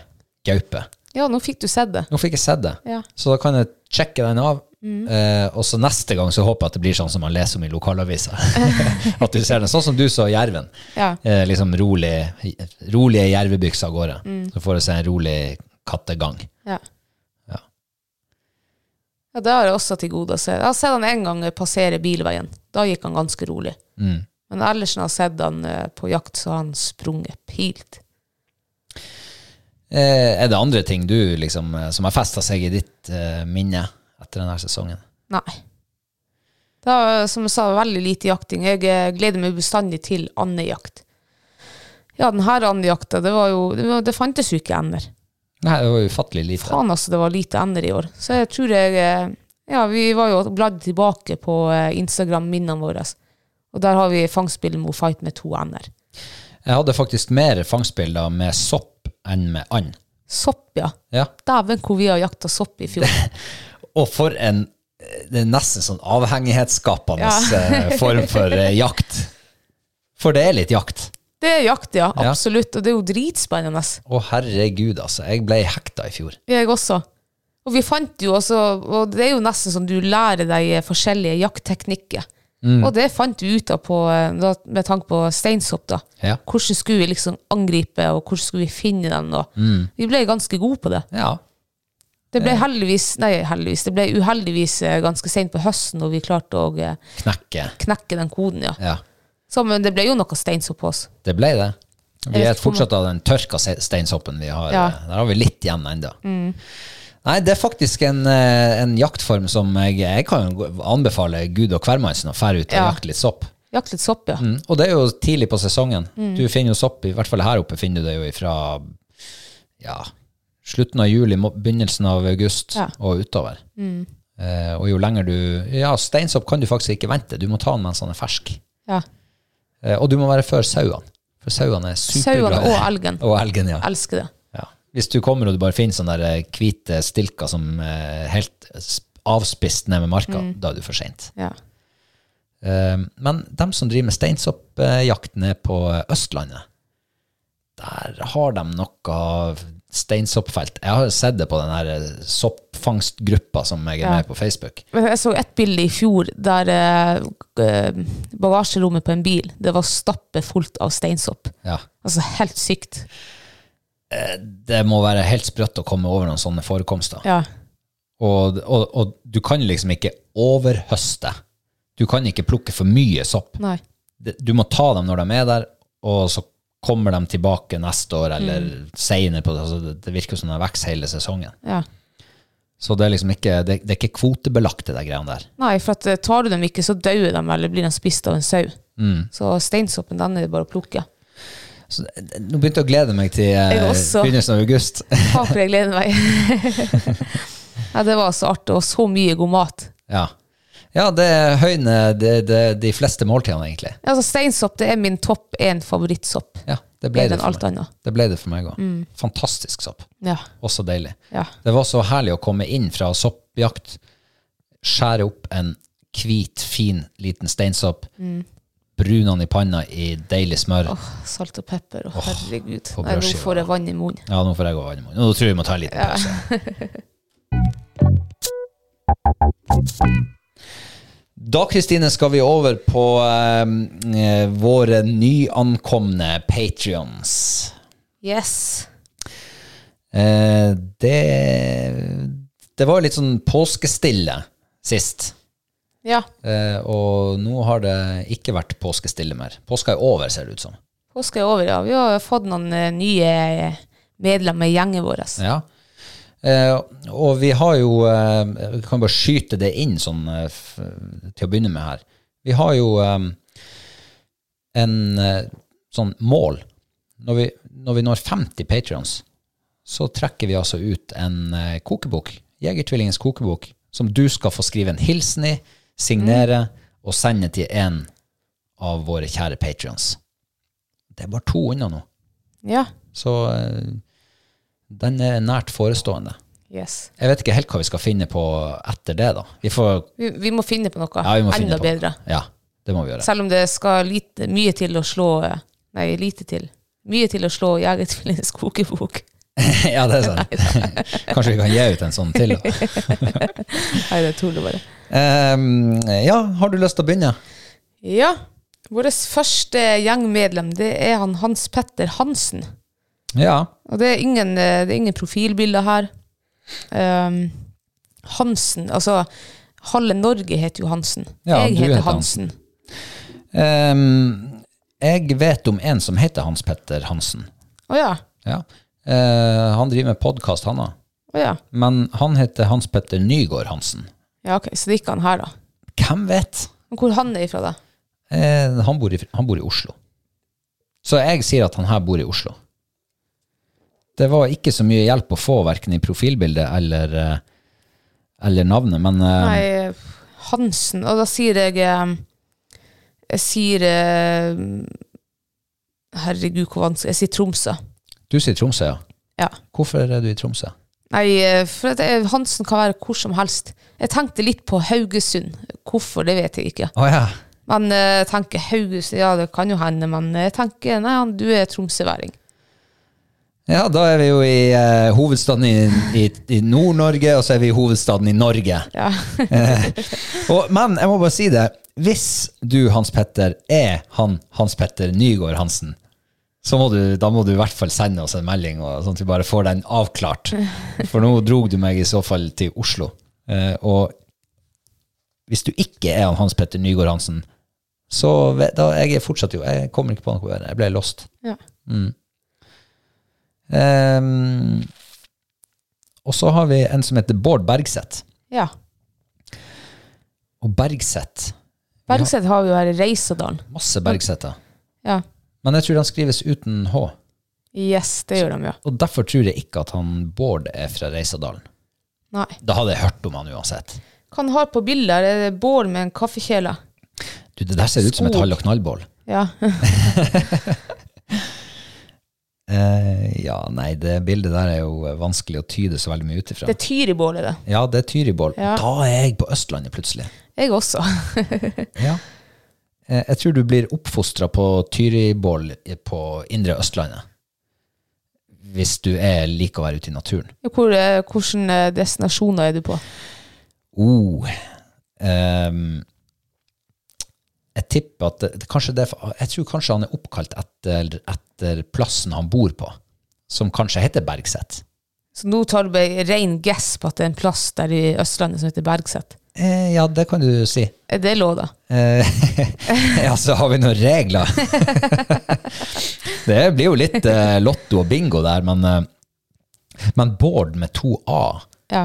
[SPEAKER 2] gaupe.
[SPEAKER 3] Ja, nå fikk du sett det.
[SPEAKER 2] Nå fikk jeg sett det,
[SPEAKER 3] Ja.
[SPEAKER 2] så da kan jeg sjekke den av. eh, og så neste gang så håper jeg at det blir sånn som man leser om i lokalavisa. at du ser den sånn som du så jerven.
[SPEAKER 3] Ja.
[SPEAKER 2] Eh, liksom rolig, rolige jervebykser av gårde. Så får du se en rolig kattegang.
[SPEAKER 3] Ja.
[SPEAKER 2] Ja.
[SPEAKER 3] Ja, det har jeg også til gode å se. Jeg har sett han en gang passere bilveien. Da gikk han ganske rolig.
[SPEAKER 2] Mm.
[SPEAKER 3] Men ellers når jeg har sett han eh, på jakt, så har han sprunget pilt.
[SPEAKER 2] Eh, er det andre ting du liksom, eh, som har festa seg i ditt eh, minne etter denne sesongen?
[SPEAKER 3] Nei. Det er, som jeg sa, veldig lite jakting. Jeg eh, gleder meg bestandig til andejakt. Ja, den her andejakta, det var jo Det, var, det fantes jo ikke ender.
[SPEAKER 2] Nei, det var jo ufattelig lite.
[SPEAKER 3] Faen, altså, det var lite ender i år. Så jeg tror jeg eh, Ja, vi var jo bladd tilbake på eh, Instagram-minnene våre, og der har vi fangstbildet med Fight med to ender.
[SPEAKER 2] Jeg hadde faktisk mer fangstbilder med sopp enn med and.
[SPEAKER 3] Sopp, ja.
[SPEAKER 2] Ja.
[SPEAKER 3] Dæven hvor vi har jakta sopp i fjor.
[SPEAKER 2] Og for en Det er nesten sånn avhengighetsskapende eh, form for eh, jakt. For det er litt jakt.
[SPEAKER 3] Det er jakt, ja.
[SPEAKER 2] Ja.
[SPEAKER 3] Absolutt. Og det er jo dritspennende.
[SPEAKER 2] Å, herregud, altså. Jeg ble hekta i fjor.
[SPEAKER 3] Jeg også. Og vi fant jo også, og det er jo nesten sånn du lærer deg forskjellige jaktteknikker.
[SPEAKER 2] Mm.
[SPEAKER 3] Og det fant vi ut av på, eh, da, med tanke på steinsopp. da.
[SPEAKER 2] Ja.
[SPEAKER 3] Hvordan skulle vi liksom angripe, og hvordan skulle vi finne den? Og.
[SPEAKER 2] Mm.
[SPEAKER 3] Vi ble ganske gode på det.
[SPEAKER 2] Ja.
[SPEAKER 3] Det ble heldigvis, nei heldigvis, det ble uheldigvis eh, ganske sent på høsten når vi klarte å eh,
[SPEAKER 2] Knekke.
[SPEAKER 3] knekke den koden, ja.
[SPEAKER 2] Ja.
[SPEAKER 3] Så, men det ble jo noe steinsopp på oss.
[SPEAKER 2] Det ble det. Vi
[SPEAKER 3] Jeg
[SPEAKER 2] er
[SPEAKER 3] vet ikke hvor
[SPEAKER 2] fortsatt av den tørka se- steinsoppen vi har. eh,
[SPEAKER 3] Ja. Mm.
[SPEAKER 2] Der har vi litt igjen ennå. Nei, det er faktisk en, eh, en jaktform som jeg, jeg kan jo gå- anbefale Gud og hvermannsen å fære ut og
[SPEAKER 3] Ja.
[SPEAKER 2] jakte litt sopp.
[SPEAKER 3] Jakt litt sopp, ja.
[SPEAKER 2] Mm. Og det er jo tidlig på sesongen.
[SPEAKER 3] Mm.
[SPEAKER 2] Du finner jo sopp, i hvert fall her oppe finner du det jo fra ja, slutten av juli, må- begynnelsen av august
[SPEAKER 3] Ja. Mm.
[SPEAKER 2] og utover. Eh, og jo lenger du Ja, steinsopp kan du faktisk ikke vente. Du må ta den mens den er fersk.
[SPEAKER 3] ja.
[SPEAKER 2] Eh, Og du må være før sauene. For sauene er superglade.
[SPEAKER 3] Sauene og elgen.
[SPEAKER 2] Og elgen, ja.
[SPEAKER 3] Elsker det.
[SPEAKER 2] ja. Hvis du kommer og du bare finner sånne der eh, hvite stilker som eh, helt s- avspist ned med marka,
[SPEAKER 3] Mm.
[SPEAKER 2] da er du for seint.
[SPEAKER 3] Ja.
[SPEAKER 2] Eh, men dem som driver med steinsoppjakt ned på eh, Østlandet, der har de noe av steinsoppfelt. Jeg har sett det på den her eh, soppfangstgruppa som jeg er
[SPEAKER 3] Ja.
[SPEAKER 2] med på Facebook.
[SPEAKER 3] Men Jeg så et bilde i fjor der eh, eh, bagasjerommet på en bil det var stappet fullt av steinsopp.
[SPEAKER 2] Ja.
[SPEAKER 3] Altså helt sykt.
[SPEAKER 2] Det må være helt sprøtt å komme over noen sånne forekomster.
[SPEAKER 3] Ja.
[SPEAKER 2] Og, og, og du kan liksom ikke overhøste. Du kan ikke plukke for mye sopp.
[SPEAKER 3] Nei.
[SPEAKER 2] Det- Du må ta dem når de er der, og så kommer de tilbake neste år eller
[SPEAKER 3] Mm.
[SPEAKER 2] senere. På det. Altså, det- det virker som de vokser hele sesongen.
[SPEAKER 3] Ja.
[SPEAKER 2] Så det er liksom ikke, det, det er ikke kvotebelagt, det der greiene der.
[SPEAKER 3] Nei, for at eh, tar du dem ikke, så dauer de eller blir de spist av en sau.
[SPEAKER 2] Mm.
[SPEAKER 3] Så steinsoppen den er det bare å plukke.
[SPEAKER 2] Så, det- nå begynte jeg å glede meg til eh,
[SPEAKER 3] Jeg også.
[SPEAKER 2] begynnelsen av august.
[SPEAKER 3] Taper jeg gleder meg. ja, det var så artig, og så mye god mat.
[SPEAKER 2] ja. ja, det høyner det, det, de fleste måltidene, egentlig.
[SPEAKER 3] Ja, Altså, steinsopp det er min topp én favorittsopp.
[SPEAKER 2] Ja, det ble det
[SPEAKER 3] Bedre enn
[SPEAKER 2] for
[SPEAKER 3] alt
[SPEAKER 2] meg.
[SPEAKER 3] annet. Mm.
[SPEAKER 2] Det ble det for meg òg. Fantastisk sopp.
[SPEAKER 3] Ja.
[SPEAKER 2] Også deilig.
[SPEAKER 3] Ja.
[SPEAKER 2] Det var så herlig å komme inn fra soppjakt, skjære opp en hvit, fin, liten steinsopp, brune den i panna i deilig smør.
[SPEAKER 3] Salt og pepper, og herregud.
[SPEAKER 2] på
[SPEAKER 3] Nei, nå
[SPEAKER 2] brødskiva.
[SPEAKER 3] får jeg vann i munnen.
[SPEAKER 2] Ja, nå får jeg gå vann i munnen. Nå tror jeg vi må ta en liten pause. Da Kristine, skal vi over på eh, eh, våre nyankomne patrions.
[SPEAKER 3] Yes.
[SPEAKER 2] Eh, det, det var litt sånn påskestille sist.
[SPEAKER 3] Ja.
[SPEAKER 2] Eh, og nå har det ikke vært påskestille mer. Påska er over, ser det ut som.
[SPEAKER 3] Påska er over, ja. Vi har fått noen eh, nye eh, medlemmer i gjengen vår. altså.
[SPEAKER 2] Ja. Eh, og vi har jo eh, Vi kan bare skyte det inn sånn eh, f til å begynne med her. Vi har jo eh, en eh, sånn mål. Når vi, når vi når 50 patrions, så trekker vi altså ut en eh, kokebok. Jegertvillingens kokebok, som du skal få skrive en hilsen i, signere og sende til en av våre kjære patrions. Det er bare to unna nå.
[SPEAKER 3] Ja.
[SPEAKER 2] Så eh, den er nært forestående.
[SPEAKER 3] Yes.
[SPEAKER 2] Jeg vet ikke helt hva vi skal finne på etter det, da. Vi får
[SPEAKER 3] Vi, vi må finne på noe
[SPEAKER 2] ja, vi må finne
[SPEAKER 3] enda
[SPEAKER 2] på.
[SPEAKER 3] bedre.
[SPEAKER 2] Ja, det må vi gjøre.
[SPEAKER 3] Selv om det skal lite, mye til å slå eh, Nei, lite til. Mye til å slå Jegertvillingens kokebok.
[SPEAKER 2] ja, det er sant. Kanskje vi kan gi ut en sånn til, da.
[SPEAKER 3] Nei, det tuller bare.
[SPEAKER 2] Em, ja, har du lyst til å begynne?
[SPEAKER 3] Ja. Vår første gjengmedlem, det er han Hans Petter Hansen.
[SPEAKER 2] Ja.
[SPEAKER 3] Og det er ingen, eh, det er ingen profilbilder her. Ehm, Hansen, altså Halve Norge heter jo Hansen.
[SPEAKER 2] Ja,
[SPEAKER 3] jeg
[SPEAKER 2] du
[SPEAKER 3] heter
[SPEAKER 2] heter
[SPEAKER 3] Hansen.
[SPEAKER 2] Em, jeg vet om en som heter Hans Petter Hansen.
[SPEAKER 3] Å ja.
[SPEAKER 2] Ja. Eh, han driver med podkast, han òg.
[SPEAKER 3] Å ja.
[SPEAKER 2] Men han heter Hans Petter Nygård Hansen.
[SPEAKER 3] ja. Ok, så det er ikke han her, da.
[SPEAKER 2] Hvem vet?
[SPEAKER 3] Men hvor han er ifra, da?
[SPEAKER 2] Eh, han, bor i, han bor i Oslo. Så jeg sier at han her bor i Oslo. Det var ikke så mye hjelp å få, verken i profilbildet eller, eh, eller navnet, men eh,
[SPEAKER 3] Nei, eh, Hansen. Og da sier jeg eh, Jeg sier eh, Herregud, hvor vanskelig Jeg sier Tromsø.
[SPEAKER 2] du sier Tromsø, ja.
[SPEAKER 3] Ja.
[SPEAKER 2] Hvorfor er du i Tromsø?
[SPEAKER 3] Nei, eh, for at eh, Hansen kan være hvor som helst. Jeg tenkte litt på Haugesund. Hvorfor, det vet jeg ikke.
[SPEAKER 2] Å ja.
[SPEAKER 3] Men eh, jeg tenker Haugesund, ja det kan jo hende, men jeg tenker nei, han, du er tromsøværing.
[SPEAKER 2] Ja, da er vi jo i eh, hovedstaden i, i, i Nord-Norge, og så er vi i hovedstaden i Norge. Eh, og, men jeg må bare si det. Hvis du, Hans Petter, er han Hans Petter Nygård Hansen, så må du, da må du i hvert fall sende oss en melding, og, sånn at vi bare får den avklart. For nå drog du meg i så fall til Oslo. Eh, og hvis du ikke er han Hans Petter Nygård Hansen, så ve- da, jeg er fortsatt jo Jeg kommer ikke på noe. Jeg ble lost.
[SPEAKER 3] Ja.
[SPEAKER 2] Ehm, og så har vi en som heter Bård Bergseth.
[SPEAKER 3] ja.
[SPEAKER 2] Og Bergseth
[SPEAKER 3] Bergseth har vi jo her i Reisadalen.
[SPEAKER 2] Masse Bergseter.
[SPEAKER 3] Ja.
[SPEAKER 2] Men jeg tror han skrives uten H.
[SPEAKER 3] Yes, det gjør de jo.
[SPEAKER 2] Og derfor tror jeg ikke at han Bård er fra Reisadalen.
[SPEAKER 3] Nei.
[SPEAKER 2] Da hadde jeg hørt om han uansett.
[SPEAKER 3] Hva han har på bildet, her, er det bål med en kaffekjele?
[SPEAKER 2] Du, Det der ser ut som et
[SPEAKER 3] Skog.
[SPEAKER 2] hall- og knallbål.
[SPEAKER 3] Ja.
[SPEAKER 2] Eh, ja, nei, det bildet der er jo eh, vanskelig å tyde så veldig mye ut ifra.
[SPEAKER 3] Det er tyr i bålet, det.
[SPEAKER 2] Ja, det er Tyribål.
[SPEAKER 3] Ja.
[SPEAKER 2] Da er jeg på Østlandet plutselig.
[SPEAKER 3] Jeg også.
[SPEAKER 2] Ja. Eh, Jeg tror du blir oppfostra på Tyribål i- på indre Østlandet. Hvis du er liker å være ute i naturen.
[SPEAKER 3] Hvor, eh, hvordan eh, destinasjoner er du på?
[SPEAKER 2] Oh. ehm, jeg tipper at det, det- kanskje det, er for- Jeg tror kanskje han er oppkalt etter, etter plassen han bor på, som kanskje heter Bergseth.
[SPEAKER 3] Så nå tar du bare rein guess på at det er en plass der i Østlandet som heter Bergseth.
[SPEAKER 2] Eh, ja, det kan du si.
[SPEAKER 3] Er det lov, da?
[SPEAKER 2] Eh, ja, så har vi noen regler. det blir jo litt eh, lotto og bingo der, men, eh, men Bård med to A
[SPEAKER 3] Ja.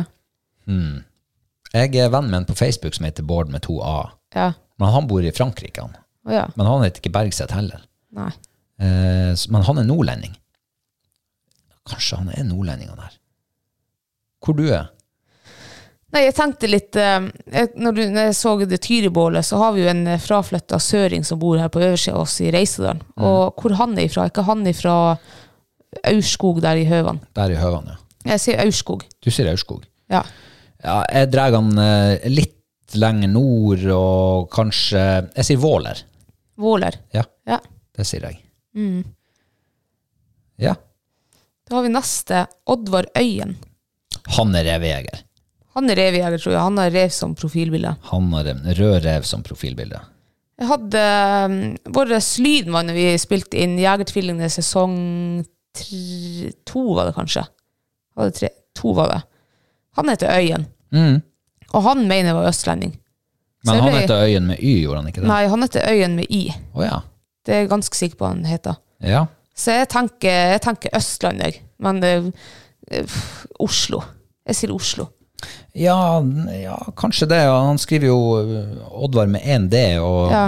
[SPEAKER 2] Jeg er venn med en på Facebook som heter Bård med to A.
[SPEAKER 3] Ja.
[SPEAKER 2] Men han bor i Frankrike, han.
[SPEAKER 3] Å ja.
[SPEAKER 2] Men han heter ikke Bergseth heller.
[SPEAKER 3] Nei.
[SPEAKER 2] Eh, s- men han er nordlending. Kanskje han er nordlending, han her. Hvor du er?
[SPEAKER 3] Nei, jeg tenkte litt eh, jeg- når, du, når jeg så det Tyribålet, så har vi jo en eh, fraflytta søring som bor her på øversida av oss i Reisedalen. Og hvor han er ifra? Er Ikke han ifra Aurskog der i Høvan?
[SPEAKER 2] Der i Høvan, ja.
[SPEAKER 3] Jeg sier Aurskog.
[SPEAKER 2] Du sier Aurskog.
[SPEAKER 3] Ja.
[SPEAKER 2] Ja, jeg drar han eh, litt lenger nord, og kanskje Jeg sier Våler.
[SPEAKER 3] Våler.
[SPEAKER 2] Ja,
[SPEAKER 3] Ja.
[SPEAKER 2] det sier jeg.
[SPEAKER 3] Mm.
[SPEAKER 2] Ja.
[SPEAKER 3] Da har vi neste. Oddvar Øyen.
[SPEAKER 2] Han er revejeger.
[SPEAKER 3] Han er revjeger, tror jeg. Han har rev som profilbilde.
[SPEAKER 2] Han har en rød rev som profilbilde.
[SPEAKER 3] Jeg hadde um, vår Lydmann når vi spilte inn Jegertvillingene sesong tre, to, var det kanskje? Var det tre? To var det. Han heter Øyen, og han mener jeg var østlending. Så
[SPEAKER 2] Men
[SPEAKER 3] jeg
[SPEAKER 2] han
[SPEAKER 3] ble-
[SPEAKER 2] heter Øyen med Y, gjorde han ikke det?
[SPEAKER 3] Nei, han heter Øyen med I.
[SPEAKER 2] Å ja.
[SPEAKER 3] Det er jeg ganske sikker på han heter.
[SPEAKER 2] ja.
[SPEAKER 3] Så jeg tenker, jeg tenker Østland, jeg. Men eh, eh, Oslo. Jeg sier Oslo.
[SPEAKER 2] Ja, n- ja, kanskje det. og Han skriver jo ø, Oddvar med én D, og
[SPEAKER 3] Ja.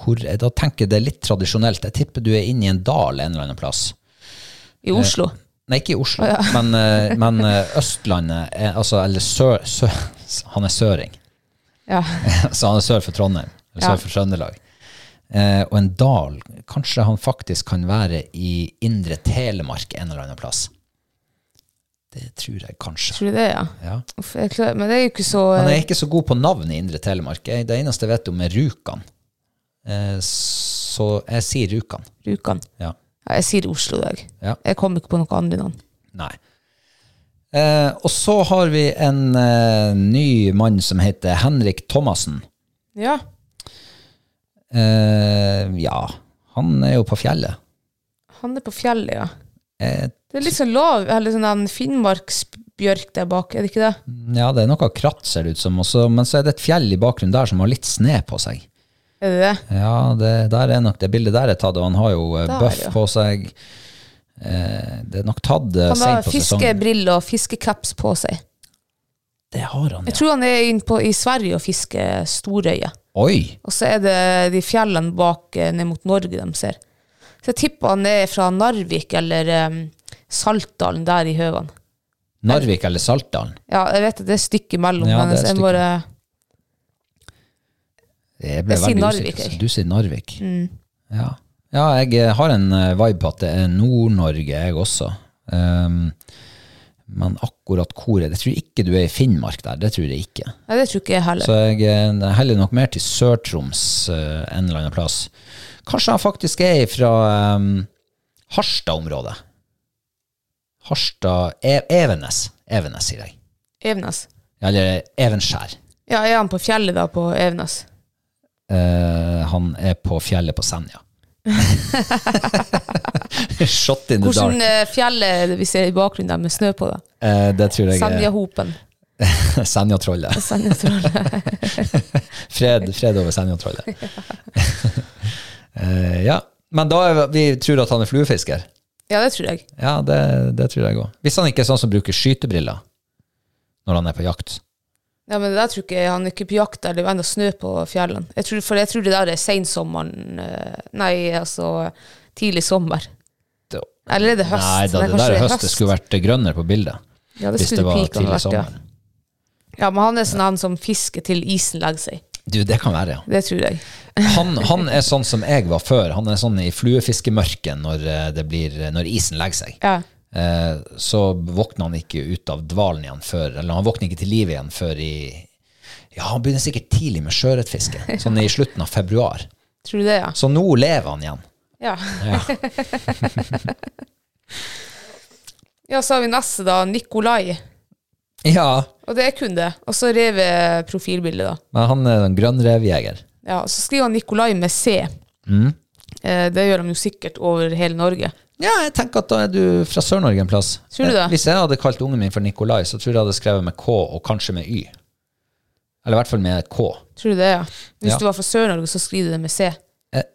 [SPEAKER 2] hvor, da tenker jeg det er litt tradisjonelt. Jeg tipper du er inne i en dal en eller annen plass.
[SPEAKER 3] I Oslo.
[SPEAKER 2] Nei, ikke i Oslo, men, ø, men ø, Østlandet, er, altså, eller sør, sør, Han er søring.
[SPEAKER 3] Ja.
[SPEAKER 2] Så han er sør for Trondheim, eller
[SPEAKER 3] Ja.
[SPEAKER 2] sør for Trøndelag. Eh, og en dal Kanskje han faktisk kan være i indre Telemark en eller annen plass. Det tror jeg kanskje.
[SPEAKER 3] Tror du det, ja?
[SPEAKER 2] Ja.
[SPEAKER 3] Uff, jeg klarer, men det er jo ikke så eh,
[SPEAKER 2] Men jeg er ikke så god på navn i indre Telemark. Jeg, det eneste jeg vet om, er Rjukan. Eh, så jeg sier Rjukan.
[SPEAKER 3] Rjukan.
[SPEAKER 2] Ja.
[SPEAKER 3] Ja, jeg sier Oslo i dag.
[SPEAKER 2] Ja.
[SPEAKER 3] Jeg kom ikke på noe andre navn.
[SPEAKER 2] Nei. Eh, og så har vi en eh, ny mann som heter Henrik Thomassen.
[SPEAKER 3] Ja.
[SPEAKER 2] Eh, ja, han er jo på fjellet.
[SPEAKER 3] Han er på fjellet, ja.
[SPEAKER 2] Eh,
[SPEAKER 3] Det er litt sånn lav, eller sånn en finnmarksbjørk der bak, er det ikke det?
[SPEAKER 2] Ja, det er noe kratt, ser det ut som. Også, men så er det et fjell i bakgrunnen der som har litt sne på seg.
[SPEAKER 3] Er det det?
[SPEAKER 2] Ja, det, der er nok det bildet der er tatt, og han har jo eh,
[SPEAKER 3] Der,
[SPEAKER 2] bøff
[SPEAKER 3] ja.
[SPEAKER 2] på seg. Eh, det er nok tatt eh,
[SPEAKER 3] Han har
[SPEAKER 2] sent på sesongen.
[SPEAKER 3] fiskebriller og fiskecaps på seg.
[SPEAKER 2] Det har han, ja.
[SPEAKER 3] Jeg tror han er inne på, i Sverige og fisker storøye.
[SPEAKER 2] Oi!
[SPEAKER 3] Og så er det de fjellene bak eh, ned mot Norge de ser. Så jeg tipper han er fra Narvik eller em, Saltdalen der i Høvan.
[SPEAKER 2] Narvik eller Saltdalen.
[SPEAKER 3] Ja, jeg vet at det er stykket mellom,
[SPEAKER 2] Ja,
[SPEAKER 3] men
[SPEAKER 2] det er
[SPEAKER 3] jeg
[SPEAKER 2] stykket.
[SPEAKER 3] bare
[SPEAKER 2] Jeg ble
[SPEAKER 3] Jeg sier
[SPEAKER 2] veldig
[SPEAKER 3] Narvik,
[SPEAKER 2] usikker.
[SPEAKER 3] jeg. Mm.
[SPEAKER 2] Du sier Narvik. Ja. ja, jeg eh, har en eh, vibe på at det er Nord-Norge, jeg også. Um, men akkurat hvor er det? Jeg tror ikke du er i Finnmark der. Det tror jeg ikke.
[SPEAKER 3] Nei, det tror ikke jeg heller.
[SPEAKER 2] Så jeg eh, heller nok mer til Sør-Troms eh, en eller annen plass. ehm, Kanskje han faktisk er fra um, Harstad-området. Harstad e Evenes. Evenes, sier jeg.
[SPEAKER 3] Evenes.
[SPEAKER 2] Eller Evenskjær.
[SPEAKER 3] Ja, er han på fjellet da, på Evenes?
[SPEAKER 2] Eh, han er på fjellet på Senja. Shot in the dark.
[SPEAKER 3] Hvordan eh, fjell er det vi ser i bakgrunnen der med snø på det?
[SPEAKER 2] Eh, det tror jeg er
[SPEAKER 3] Senjahopen.
[SPEAKER 2] Senjatrollet.
[SPEAKER 3] Senjatrollet.
[SPEAKER 2] Fred, fred over Senjatrollet. Eh, ja. Men da er vi, vi tror at han er fluefisker.
[SPEAKER 3] Ja, det tror jeg.
[SPEAKER 2] Ja, det, det tror jeg òg. Hvis han ikke er sånn som bruker skytebriller når han er på jakt.
[SPEAKER 3] Ja, men det der tror ikke jeg han er ikke på jakt der, det er jo ennå snø på fjellene. Jeg tror, for jeg tror det der er sensommeren eh, Nei, altså tidlig sommer.
[SPEAKER 2] Det-
[SPEAKER 3] Eller er det høst?
[SPEAKER 2] Nei, da, det
[SPEAKER 3] kanskje
[SPEAKER 2] der er høst. Det skulle vært grønnere på bildet.
[SPEAKER 3] ja,
[SPEAKER 2] hvis
[SPEAKER 3] det
[SPEAKER 2] det
[SPEAKER 3] skulle
[SPEAKER 2] var
[SPEAKER 3] pikene
[SPEAKER 2] tidlig
[SPEAKER 3] vært, ja.
[SPEAKER 2] sommer.
[SPEAKER 3] ja, men han er sånn han som fisker til isen legger seg.
[SPEAKER 2] Du, det kan være, ja.
[SPEAKER 3] Det tror jeg.
[SPEAKER 2] Han, han er sånn som jeg var før. Han er sånn i fluefiskemørket når, eh, det blir, når isen legger seg.
[SPEAKER 3] Ja.
[SPEAKER 2] Eh, så våkner han ikke ut av dvalen igjen før Eller han våkner ikke til liv igjen før i Ja, han begynner sikkert tidlig med sjøørretfiske. Sånn i slutten av februar.
[SPEAKER 3] Tror du det, ja?
[SPEAKER 2] Så nå lever han igjen.
[SPEAKER 3] Ja.
[SPEAKER 2] Ja.
[SPEAKER 3] ja, så har vi neste, da. Nikolai.
[SPEAKER 2] ja.
[SPEAKER 3] Og det er kun det. Og så reveprofilbildet, da.
[SPEAKER 2] Men han er en grønnrevjeger.
[SPEAKER 3] Ja, og så skriver han Nikolai med C.
[SPEAKER 2] Mm.
[SPEAKER 3] Eh, det gjør han jo sikkert over hele Norge.
[SPEAKER 2] Ja, jeg tenker at da er du fra Sør-Norge en plass.
[SPEAKER 3] Tror du det?
[SPEAKER 2] Eh, Hvis jeg hadde kalt ungen min for Nikolai, så tror jeg jeg hadde skrevet med K, og kanskje med Y. Eller i hvert fall med K.
[SPEAKER 3] Tror du det, ja? Hvis
[SPEAKER 2] Ja.
[SPEAKER 3] du var fra Sør-Norge, så skriver du det med C.
[SPEAKER 2] Eh,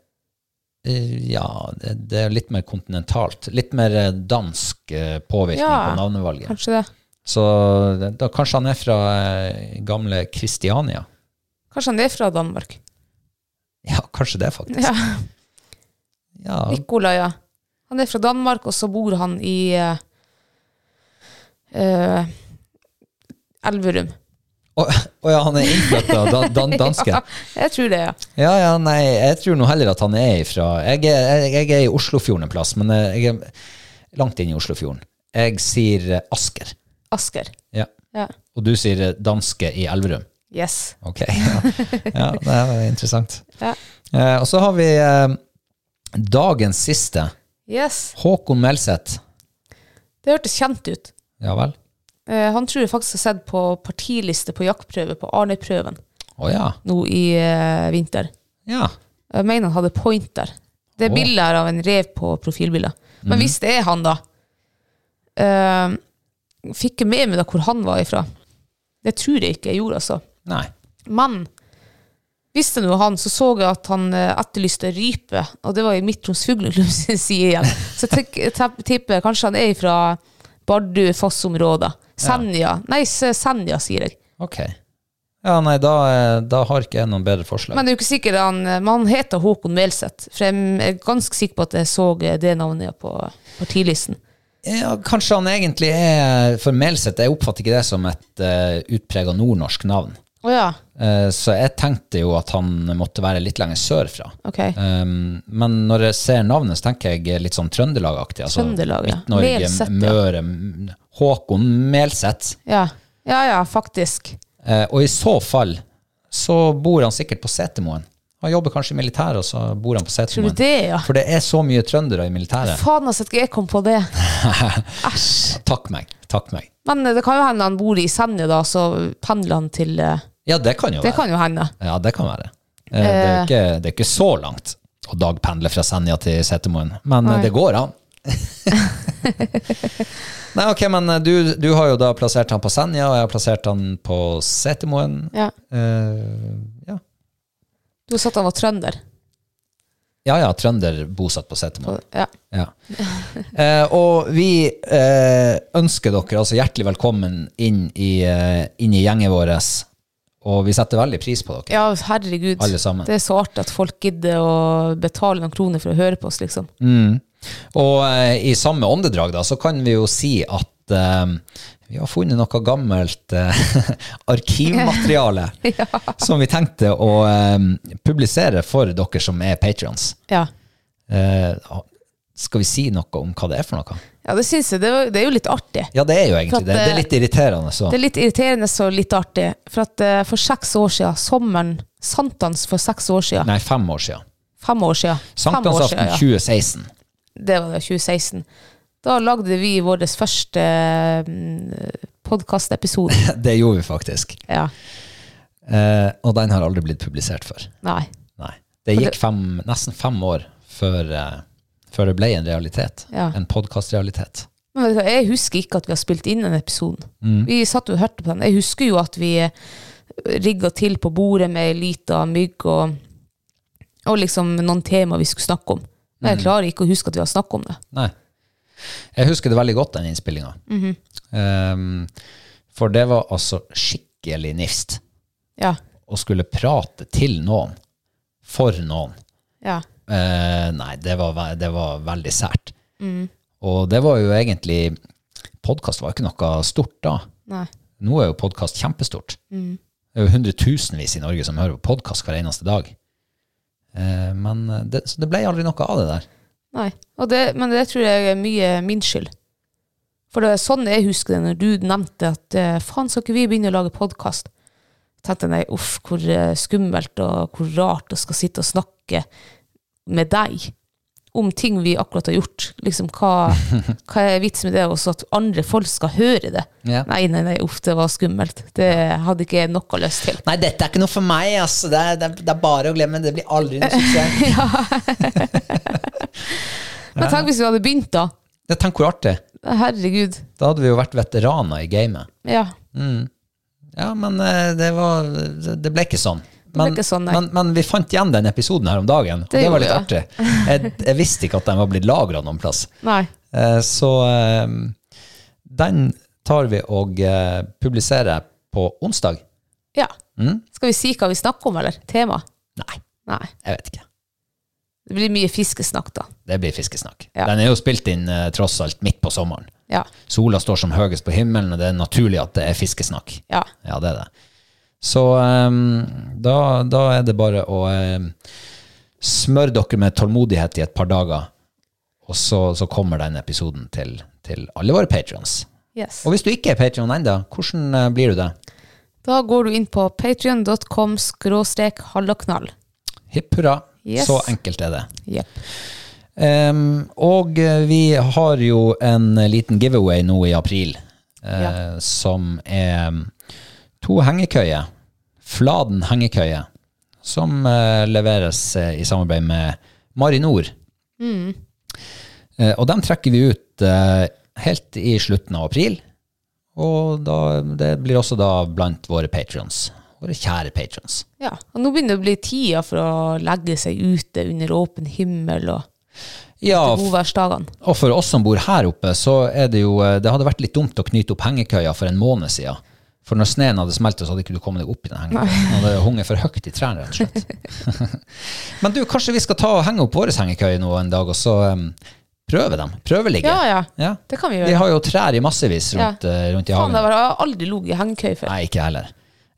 [SPEAKER 2] Ja, det, det er litt mer kontinentalt. Litt mer eh, dansk eh, påvirkning
[SPEAKER 3] Ja,
[SPEAKER 2] på navnevalget.
[SPEAKER 3] Kanskje det.
[SPEAKER 2] Så det- da kanskje han er fra eh, gamle Kristiania.
[SPEAKER 3] Kanskje han er fra Danmark.
[SPEAKER 2] Ja, kanskje det, faktisk.
[SPEAKER 3] Ja,
[SPEAKER 2] Ja,
[SPEAKER 3] Nikolai, ja. Han er fra Danmark, og så bor han i eh, eh, Elverum.
[SPEAKER 2] Å å ja, han er innfødt av dan, dan, danske.
[SPEAKER 3] Ja, jeg tror det, ja.
[SPEAKER 2] Ja, ja, nei, jeg tror nå heller at han er ifra Jeg er, jeg, jeg er i Oslofjorden en plass, men eh, jeg er langt inn i Oslofjorden. Jeg sier eh, Asker,
[SPEAKER 3] Asker.
[SPEAKER 2] ja.
[SPEAKER 3] Ja.
[SPEAKER 2] og du sier eh, danske i Elverum.
[SPEAKER 3] Yes.
[SPEAKER 2] Ok, ja, ja det er interessant.
[SPEAKER 3] Ja.
[SPEAKER 2] Eh, og så har vi eh, dagens siste.
[SPEAKER 3] Yes.
[SPEAKER 2] Håkon Melseth.
[SPEAKER 3] Det hørtes kjent ut.
[SPEAKER 2] Ja vel?
[SPEAKER 3] Eh, han tror jeg faktisk har sett på partiliste på jaktprøve på Arnøyprøven
[SPEAKER 2] Å ja.
[SPEAKER 3] nå i eh, vinter.
[SPEAKER 2] ja.
[SPEAKER 3] Jeg mener han hadde pointer. Det er
[SPEAKER 2] Åh.
[SPEAKER 3] bilder her av en rev på profilbildet. Men hvis det er han, da eh, Fikk jeg med meg da hvor han var ifra? Det tror jeg ikke jeg gjorde, altså.
[SPEAKER 2] Nei.
[SPEAKER 3] Men hvis det nå er han, så så jeg at han eh, etterlyste rype, og det var i Midt-Troms Fugleklubb sin side igjen. Så jeg tenk- te- tipper jeg kanskje han er fra Bardu-Foss-området. Senja. Nei, S- Senja, sier jeg.
[SPEAKER 2] Ok. Ja, nei, da, eh, da har ikke jeg noen bedre forslag.
[SPEAKER 3] Men det er jo ikke sikkert han eh, Men han heter Håkon Melseth, for jeg er ganske sikker på at jeg så eh, det navnet på partilisten.
[SPEAKER 2] Ja, kanskje han egentlig er formelt sett, jeg oppfatter ikke det som et uh, utprega nordnorsk navn.
[SPEAKER 3] Å ja.
[SPEAKER 2] Eh, så jeg tenkte jo at han måtte være litt lenger sørfra.
[SPEAKER 3] Ok.
[SPEAKER 2] Um, men når jeg ser navnet, så tenker jeg litt sånn Trøndelag-aktig. Altså
[SPEAKER 3] Trøndelag, ja.
[SPEAKER 2] Midt-Norge,
[SPEAKER 3] Melset, ja.
[SPEAKER 2] Møre M- Håkon Melseth.
[SPEAKER 3] Ja. ja ja, faktisk.
[SPEAKER 2] Eh, og i så fall så bor han sikkert på Setermoen. Han jobber kanskje i militæret, og så bor han på
[SPEAKER 3] Tror
[SPEAKER 2] Setermoen.
[SPEAKER 3] du det, ja?
[SPEAKER 2] For det er så mye trøndere i militæret.
[SPEAKER 3] Faen, altså, at ikke jeg kom på det. Æsj.
[SPEAKER 2] Takk meg. Takk meg.
[SPEAKER 3] Men eh, det kan jo hende han bor i Senja, da, så pendler han til eh,
[SPEAKER 2] Ja, det kan jo
[SPEAKER 3] Det
[SPEAKER 2] være.
[SPEAKER 3] kan jo hende.
[SPEAKER 2] Ja, det kan være. Eh, Det er ikke, det er ikke så langt å dagpendle fra Senja til Setermoen, men eh,
[SPEAKER 3] Nei.
[SPEAKER 2] det går an. Nei, ok, men eh, du, du har jo da plassert han på Senja, og jeg har plassert han på Setermoen.
[SPEAKER 3] Ja.
[SPEAKER 2] Eh, ja.
[SPEAKER 3] Du sa at han var trønder.
[SPEAKER 2] ja, ja, trønder bosatt på Setermoen.
[SPEAKER 3] Ja.
[SPEAKER 2] Ja. Eh, og vi eh, ønsker dere altså hjertelig velkommen inn i, eh, inn i gjengen vår, og vi setter veldig pris på dere.
[SPEAKER 3] ja, herregud.
[SPEAKER 2] Alle sammen.
[SPEAKER 3] Det er så artig at folk gidder å betale noen kroner for å høre på oss, liksom.
[SPEAKER 2] Og eh, i samme åndedrag da, så kan vi jo si at eh, vi har funnet noe gammelt eh, arkivmateriale som vi tenkte å eh, publisere for dere som er patrions.
[SPEAKER 3] Ja.
[SPEAKER 2] Eh, skal vi si noe om hva det er for noe?
[SPEAKER 3] Ja, det syns jeg. Det er, jo- det er jo litt artig.
[SPEAKER 2] Ja, det er jo
[SPEAKER 3] For at,
[SPEAKER 2] egentlig det. Det er
[SPEAKER 3] eh,
[SPEAKER 2] litt irriterende. Så.
[SPEAKER 3] Det er litt irriterende så litt artig. For at eh, for seks år siden, sommeren Sankthans for seks år siden,
[SPEAKER 2] Nei, fem år siden.
[SPEAKER 3] fem år siden, fem år siden
[SPEAKER 2] Sankthansaften
[SPEAKER 3] ja.
[SPEAKER 2] 2016.
[SPEAKER 3] det var det, 2016, Da lagde vi vår første podkastepisode.
[SPEAKER 2] Det gjorde vi faktisk.
[SPEAKER 3] Ja.
[SPEAKER 2] Eh, og den har aldri blitt publisert før.
[SPEAKER 3] Nei.
[SPEAKER 2] Nei. Det gikk fem, nesten fem år før, eh, før det ble en realitet.
[SPEAKER 3] Ja.
[SPEAKER 2] En podkastrealitet.
[SPEAKER 3] Men vet du hva, jeg husker ikke at vi har spilt inn den episoden. Vi satt og hørte på den. Jeg husker jo at vi rigga til på bordet med ei lita mygg og, og liksom noen tema vi skulle snakke om. Men jeg klarer ikke å huske at vi har snakket om det.
[SPEAKER 2] Nei. Jeg husker det veldig godt, den innspillinga. for det var altså skikkelig nifst
[SPEAKER 3] Ja.
[SPEAKER 2] å skulle prate til noen. For noen.
[SPEAKER 3] ja.
[SPEAKER 2] Eh, nei, det var, ve- det var veldig sært. Og det var jo egentlig Podkast var jo ikke noe stort da.
[SPEAKER 3] Nei.
[SPEAKER 2] Nå er jo podkast kjempestort. Det er jo hundretusenvis i Norge som hører på podkast hver eneste dag. Eh, men det, så det ble aldri noe av det der.
[SPEAKER 3] Nei. Og det, men det tror jeg er mye min skyld. For det er sånn jeg husker det når du nevnte at eh, faen, skal ikke vi begynne å lage podkast? tenkte jeg nei, uff, hvor eh, skummelt og hvor rart å skal sitte og snakke med deg om ting vi akkurat har gjort. Liksom, hva, hva er vitsen med det, og så at andre folk skal høre det?
[SPEAKER 2] Ja.
[SPEAKER 3] Nei, nei, nei, uff, det var skummelt. Det hadde ikke jeg noe lyst til.
[SPEAKER 2] Nei, dette er ikke noe for meg. Altså. Det, er, bare å glemme. Det blir aldri noe suksess.
[SPEAKER 3] Men tenk hvis vi hadde begynt, da.
[SPEAKER 2] Tenk hvor artig.
[SPEAKER 3] Herregud.
[SPEAKER 2] Da hadde vi jo vært veteraner i gamet.
[SPEAKER 3] Ja.
[SPEAKER 2] Ja, men eh, det, var, det det ble ikke sånn.
[SPEAKER 3] ble
[SPEAKER 2] Men,
[SPEAKER 3] ikke sånn, nei.
[SPEAKER 2] men, men vi fant igjen den episoden her om dagen, og
[SPEAKER 3] Det
[SPEAKER 2] det, var
[SPEAKER 3] gjorde
[SPEAKER 2] litt artig. Jeg, jeg visste ikke at den var blitt lagra noen plass.
[SPEAKER 3] Nei.
[SPEAKER 2] Eh, Så eh, den tar vi og eh, publiserer på onsdag. Mm?
[SPEAKER 3] Ja. Skal vi si hva vi snakker om, eller? Tema?
[SPEAKER 2] Nei,
[SPEAKER 3] Nei.
[SPEAKER 2] jeg vet ikke.
[SPEAKER 3] Det blir mye fiskesnakk, da.
[SPEAKER 2] Det blir fiskesnakk.
[SPEAKER 3] Ja.
[SPEAKER 2] Den er jo spilt inn eh, tross alt midt på sommeren.
[SPEAKER 3] Ja.
[SPEAKER 2] Sola står som høyest på himmelen, og det er naturlig at det er fiskesnakk.
[SPEAKER 3] ja.
[SPEAKER 2] Ja, det er det. Så ehm, da, da er det bare å ehm, smøre dere med tålmodighet i et par dager, og så, så kommer den episoden til, til alle våre patrons.
[SPEAKER 3] Yes.
[SPEAKER 2] Og hvis du ikke er patron ennå, hvordan eh, blir du det?
[SPEAKER 3] Da går du inn på patrion.com skråstrek hallaknall.
[SPEAKER 2] Hipp hurra.
[SPEAKER 3] Yes.
[SPEAKER 2] Så enkelt er det.
[SPEAKER 3] Jepp.
[SPEAKER 2] Ehm, og eh, vi har jo en liten giveaway nå i april, eh,
[SPEAKER 3] Ja.
[SPEAKER 2] som er to hengekøyer. Fladen hengekøye, som eh, leveres eh, i samarbeid med Marinor. Eh, og dem trekker vi ut eh, helt i slutten av april. Og da, det blir også da blant våre patrons. Våre kjære patrons.
[SPEAKER 3] Ja. Og nå begynner det å bli tida for å legge seg ute under åpen himmel og
[SPEAKER 2] Ja,
[SPEAKER 3] godværsdagene.
[SPEAKER 2] Og for oss som bor her oppe, så er det jo eh, Det hadde vært litt dumt å knyte opp hengekøya for en måned siden. For når sneen hadde smeltet, så hadde ikke du kommet deg opp i den hengekøya. Den hadde hunget for høyt i trærne, rett og slett. Men du, kanskje vi skal ta og henge opp vår hengekøye nå en dag, og så um, prøve dem? Prøveligge?
[SPEAKER 3] Ja, ja. Det kan vi gjøre.
[SPEAKER 2] Vi har jo trær i massevis rundt,
[SPEAKER 3] Ja.
[SPEAKER 2] eh, rundt i
[SPEAKER 3] Faen,
[SPEAKER 2] hagen.
[SPEAKER 3] jeg har aldri ligget i hengekøye før.
[SPEAKER 2] Nei, ikke jeg heller.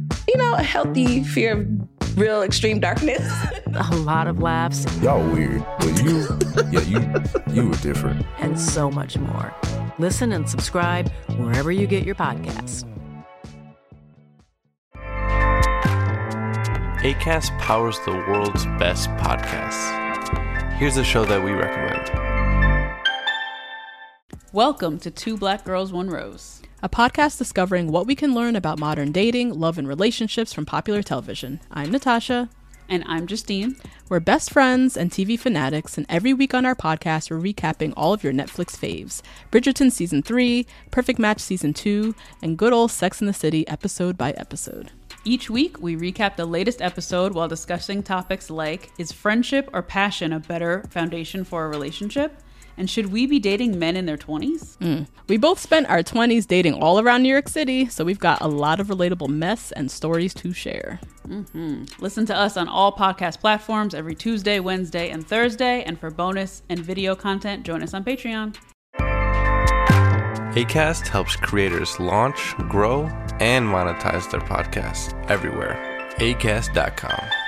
[SPEAKER 4] you know, a healthy fear of real extreme darkness.
[SPEAKER 5] a lot of laughs,
[SPEAKER 6] Y'all weird, but you, yeah, you, you were different.
[SPEAKER 5] and so much more. Listen and subscribe wherever you get your podcasts.
[SPEAKER 7] ACAST powers the world's best podcasts. Here's a show that we recommend.
[SPEAKER 8] Welcome to Two Black Girls, One Rose, a podcast discovering what we can learn about modern dating, love, and relationships from popular television. I'm Natasha. And I'm Justine. We're best friends and TV fanatics, and every week on our podcast, we're recapping all of your Netflix faves Bridgerton Season 3, Perfect Match Season 2, and Good Old Sex in the City episode by episode. Each week, we recap the latest episode while discussing topics like Is friendship or passion a better foundation for a relationship? And should we be dating men in their 20s? Mm. We both spent our 20s dating all around New York City, so we've got a lot of relatable mess and stories to share. Mm-hmm. Listen to us on all podcast platforms every Tuesday, Wednesday, and Thursday. And for bonus and video content, join us on Patreon.
[SPEAKER 7] ACAST helps creators launch, grow, and monetize their podcasts everywhere. ACAST.com.